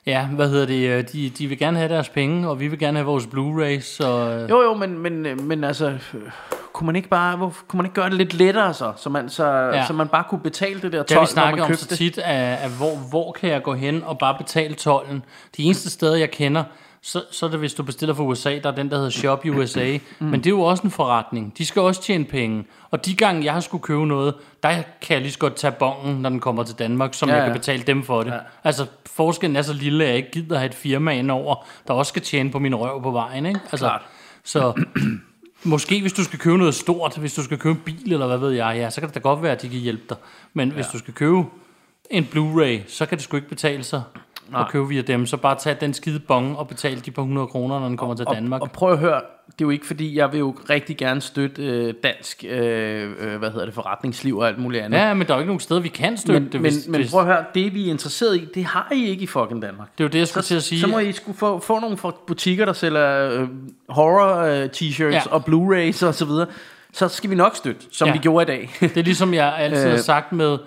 Speaker 3: Ja, hvad hedder det? øh, De, de vil gerne have deres penge, og vi vil gerne have vores Blu-rays. Så, øh,
Speaker 4: Jo, jo, men, men, øh, men altså, øh, kunne man ikke bare, hvor, kunne man ikke gøre det lidt lettere så, så man, så, ja. så man bare kunne betale det der
Speaker 3: det har vi
Speaker 4: 12, når man
Speaker 3: snakket om
Speaker 4: købte
Speaker 3: så
Speaker 4: det?
Speaker 3: tit, af, af hvor, hvor kan jeg gå hen og bare betale tolden. De eneste steder, jeg kender, så, så er det, hvis du bestiller fra USA, der er den, der hedder Shop USA.
Speaker 4: Mm.
Speaker 3: Men det er jo også en forretning. De skal også tjene penge. Og de gange, jeg har skulle købe noget, der kan jeg lige så godt tage bongen, når den kommer til Danmark, som
Speaker 4: Ja,
Speaker 3: ja, jeg
Speaker 4: ja.
Speaker 3: kan betale dem for det. Ja. Altså, forskellen er så lille, at jeg ikke gider have et firma indover, der også skal tjene på min røv på vejen. Ikke? Altså,
Speaker 4: Klart.
Speaker 3: Så Måske hvis du skal købe noget stort, hvis du skal købe en bil eller hvad ved jeg, ja, så kan det da godt være, at de kan hjælpe dig. Men ja. hvis du skal købe en Blu-ray, så kan det sgu ikke betale sig Nej. at købe via dem. Så bare tag den skide bong og betal de på 100 kroner, når den kommer til Danmark.
Speaker 4: Og, og prøv at høre, det er jo ikke fordi, jeg vil jo rigtig gerne støtte øh, dansk, øh, øh, hvad hedder det, forretningsliv og alt muligt andet.
Speaker 3: ja, men der er jo ikke nogen steder, vi kan støtte
Speaker 4: men,
Speaker 3: det.
Speaker 4: men,
Speaker 3: Hvis,
Speaker 4: men
Speaker 3: hvis,
Speaker 4: prøv at høre, det vi er interesseret i, det har I ikke i fucking Danmark.
Speaker 3: det er jo det, jeg skulle til at sige.
Speaker 4: Så må I skulle få, få nogle fra butikker, der sælger øh, horror-t-shirts ja.
Speaker 3: Ja.
Speaker 4: og Blu-rays og så videre. Så skal vi nok støtte, som ja.
Speaker 3: Ja.
Speaker 4: vi gjorde i dag. Øh.
Speaker 3: Det er ligesom jeg altid har sagt med,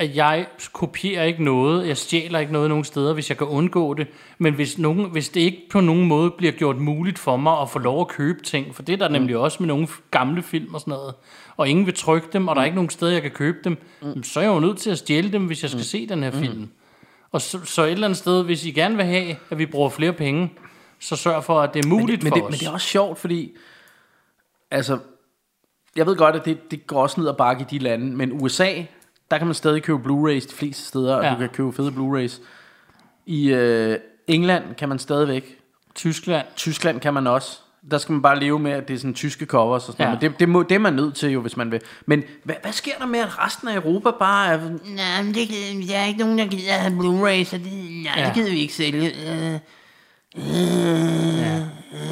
Speaker 3: at jeg kopierer ikke noget, jeg stjæler ikke noget nogen steder, hvis jeg kan undgå det. Men hvis, nogen, hvis det ikke på nogen måde bliver gjort muligt for mig at få lov at købe ting, for det er
Speaker 4: Mm.
Speaker 3: der nemlig også med nogle f- gamle film og sådan noget, og ingen vil trykke dem, og
Speaker 4: Mm.
Speaker 3: der er ikke nogen steder, jeg kan købe dem, mm. så er jeg jo nødt til at stjæle dem, hvis jeg
Speaker 4: Mm.
Speaker 3: skal se den her film. Og så, så et eller andet sted, hvis I gerne vil have, at vi bruger flere penge, så sørg for, at det er muligt
Speaker 4: men
Speaker 3: for
Speaker 4: det,
Speaker 3: os.
Speaker 4: Men det er også sjovt, fordi... Altså, jeg ved godt, at det, det går også ned ad bakke i de lande, men USA, der kan man stadig købe Blu-rays de fleste steder, og
Speaker 3: Ja.
Speaker 4: du kan købe fede Blu-rays. I øh, England kan man stadigvæk.
Speaker 3: Tyskland.
Speaker 4: Tyskland kan man også. Der skal man bare leve med, at det er sådan tyske covers og sådan
Speaker 3: Ja.
Speaker 4: ja. noget. Men det, det, må, det er man nødt til jo, hvis man vil. Men hvad, hvad sker der med, at resten af Europa bare er... sådan, Nej, men det, gider- der er ikke nogen, der gider at have Blu-ray, så det, nej,
Speaker 3: Ja.
Speaker 4: det gider vi ikke sælge. Øh.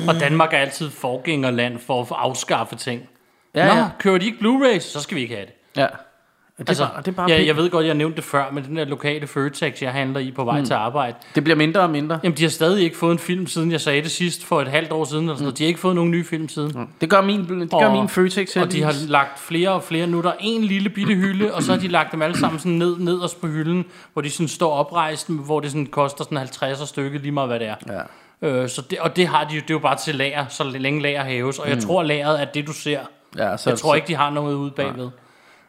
Speaker 3: Og Danmark er altid forgængerland for at afskaffe ting.
Speaker 4: Ja,
Speaker 3: Nå,
Speaker 4: ja.
Speaker 3: kører de ikke Blu-rays, så skal vi ikke have det.
Speaker 4: Ja. Og det,
Speaker 3: Altså,
Speaker 4: er bare, det, er bare
Speaker 3: ja,
Speaker 4: pænt.
Speaker 3: jeg ved godt, jeg nævnte det før, men den der lokale Føtex, jeg handler i på vej mm. til arbejde,
Speaker 4: det bliver mindre og mindre.
Speaker 3: jamen de har stadig ikke fået en film, siden jeg sagde det sidst, for et halvt år siden. Eller sådan noget. De har ikke fået nogen nye film siden. Mm.
Speaker 4: Det gør min, Mm. det gør min Føtex
Speaker 3: Og de har
Speaker 4: heldigvis.
Speaker 3: lagt flere og flere. Nu er der en lille bitte hylde, og så har de lagt dem alle sammen sådan ned, nederst på hylden, hvor de sådan står oprejst, hvor det sådan koster sådan 50 stykke, lige meget hvad det er.
Speaker 4: Ja.
Speaker 3: Øh, så det, og det har de jo, det er jo bare til lager, så længe lager hæves. Og jeg tror, lageret er det, du ser.
Speaker 4: Ja, Mm. så,
Speaker 3: Jeg tror ikke, de har noget ude bagved.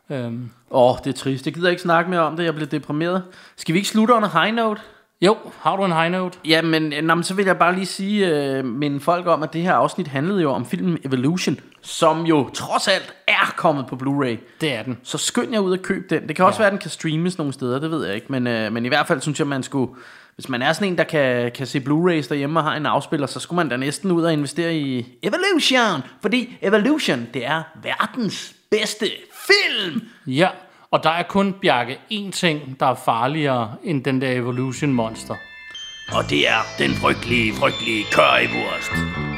Speaker 3: Øhm,
Speaker 4: Åh, oh, det er trist. Jeg gider ikke snakke mere om det. Jeg blev deprimeret. Skal vi ikke slutte under high note?
Speaker 3: jo, har du en high note?
Speaker 4: Ja, men, øh, nå, men så vil jeg bare lige sige, øh, minde folk om, at det her afsnit handlede jo om filmen Evolution, som jo trods alt er kommet på Blu-ray.
Speaker 3: Det er den.
Speaker 4: Så skynd jer ud og køb den. Det kan også være, at den kan streames nogle steder, det ved jeg ikke. Men, øh, men i hvert fald synes jeg, man skulle... Hvis man er sådan en, der kan, kan se Blu-rays derhjemme og har en afspiller, så skulle man da næsten ud og investere i Evolution. Fordi Evolution, det er verdens bedste film.
Speaker 3: Ja, og der er kun, Bjarke, én ting, der er farligere end den der Evolution Monster.
Speaker 4: Og det er den frygtelige, frygtelige currywurst.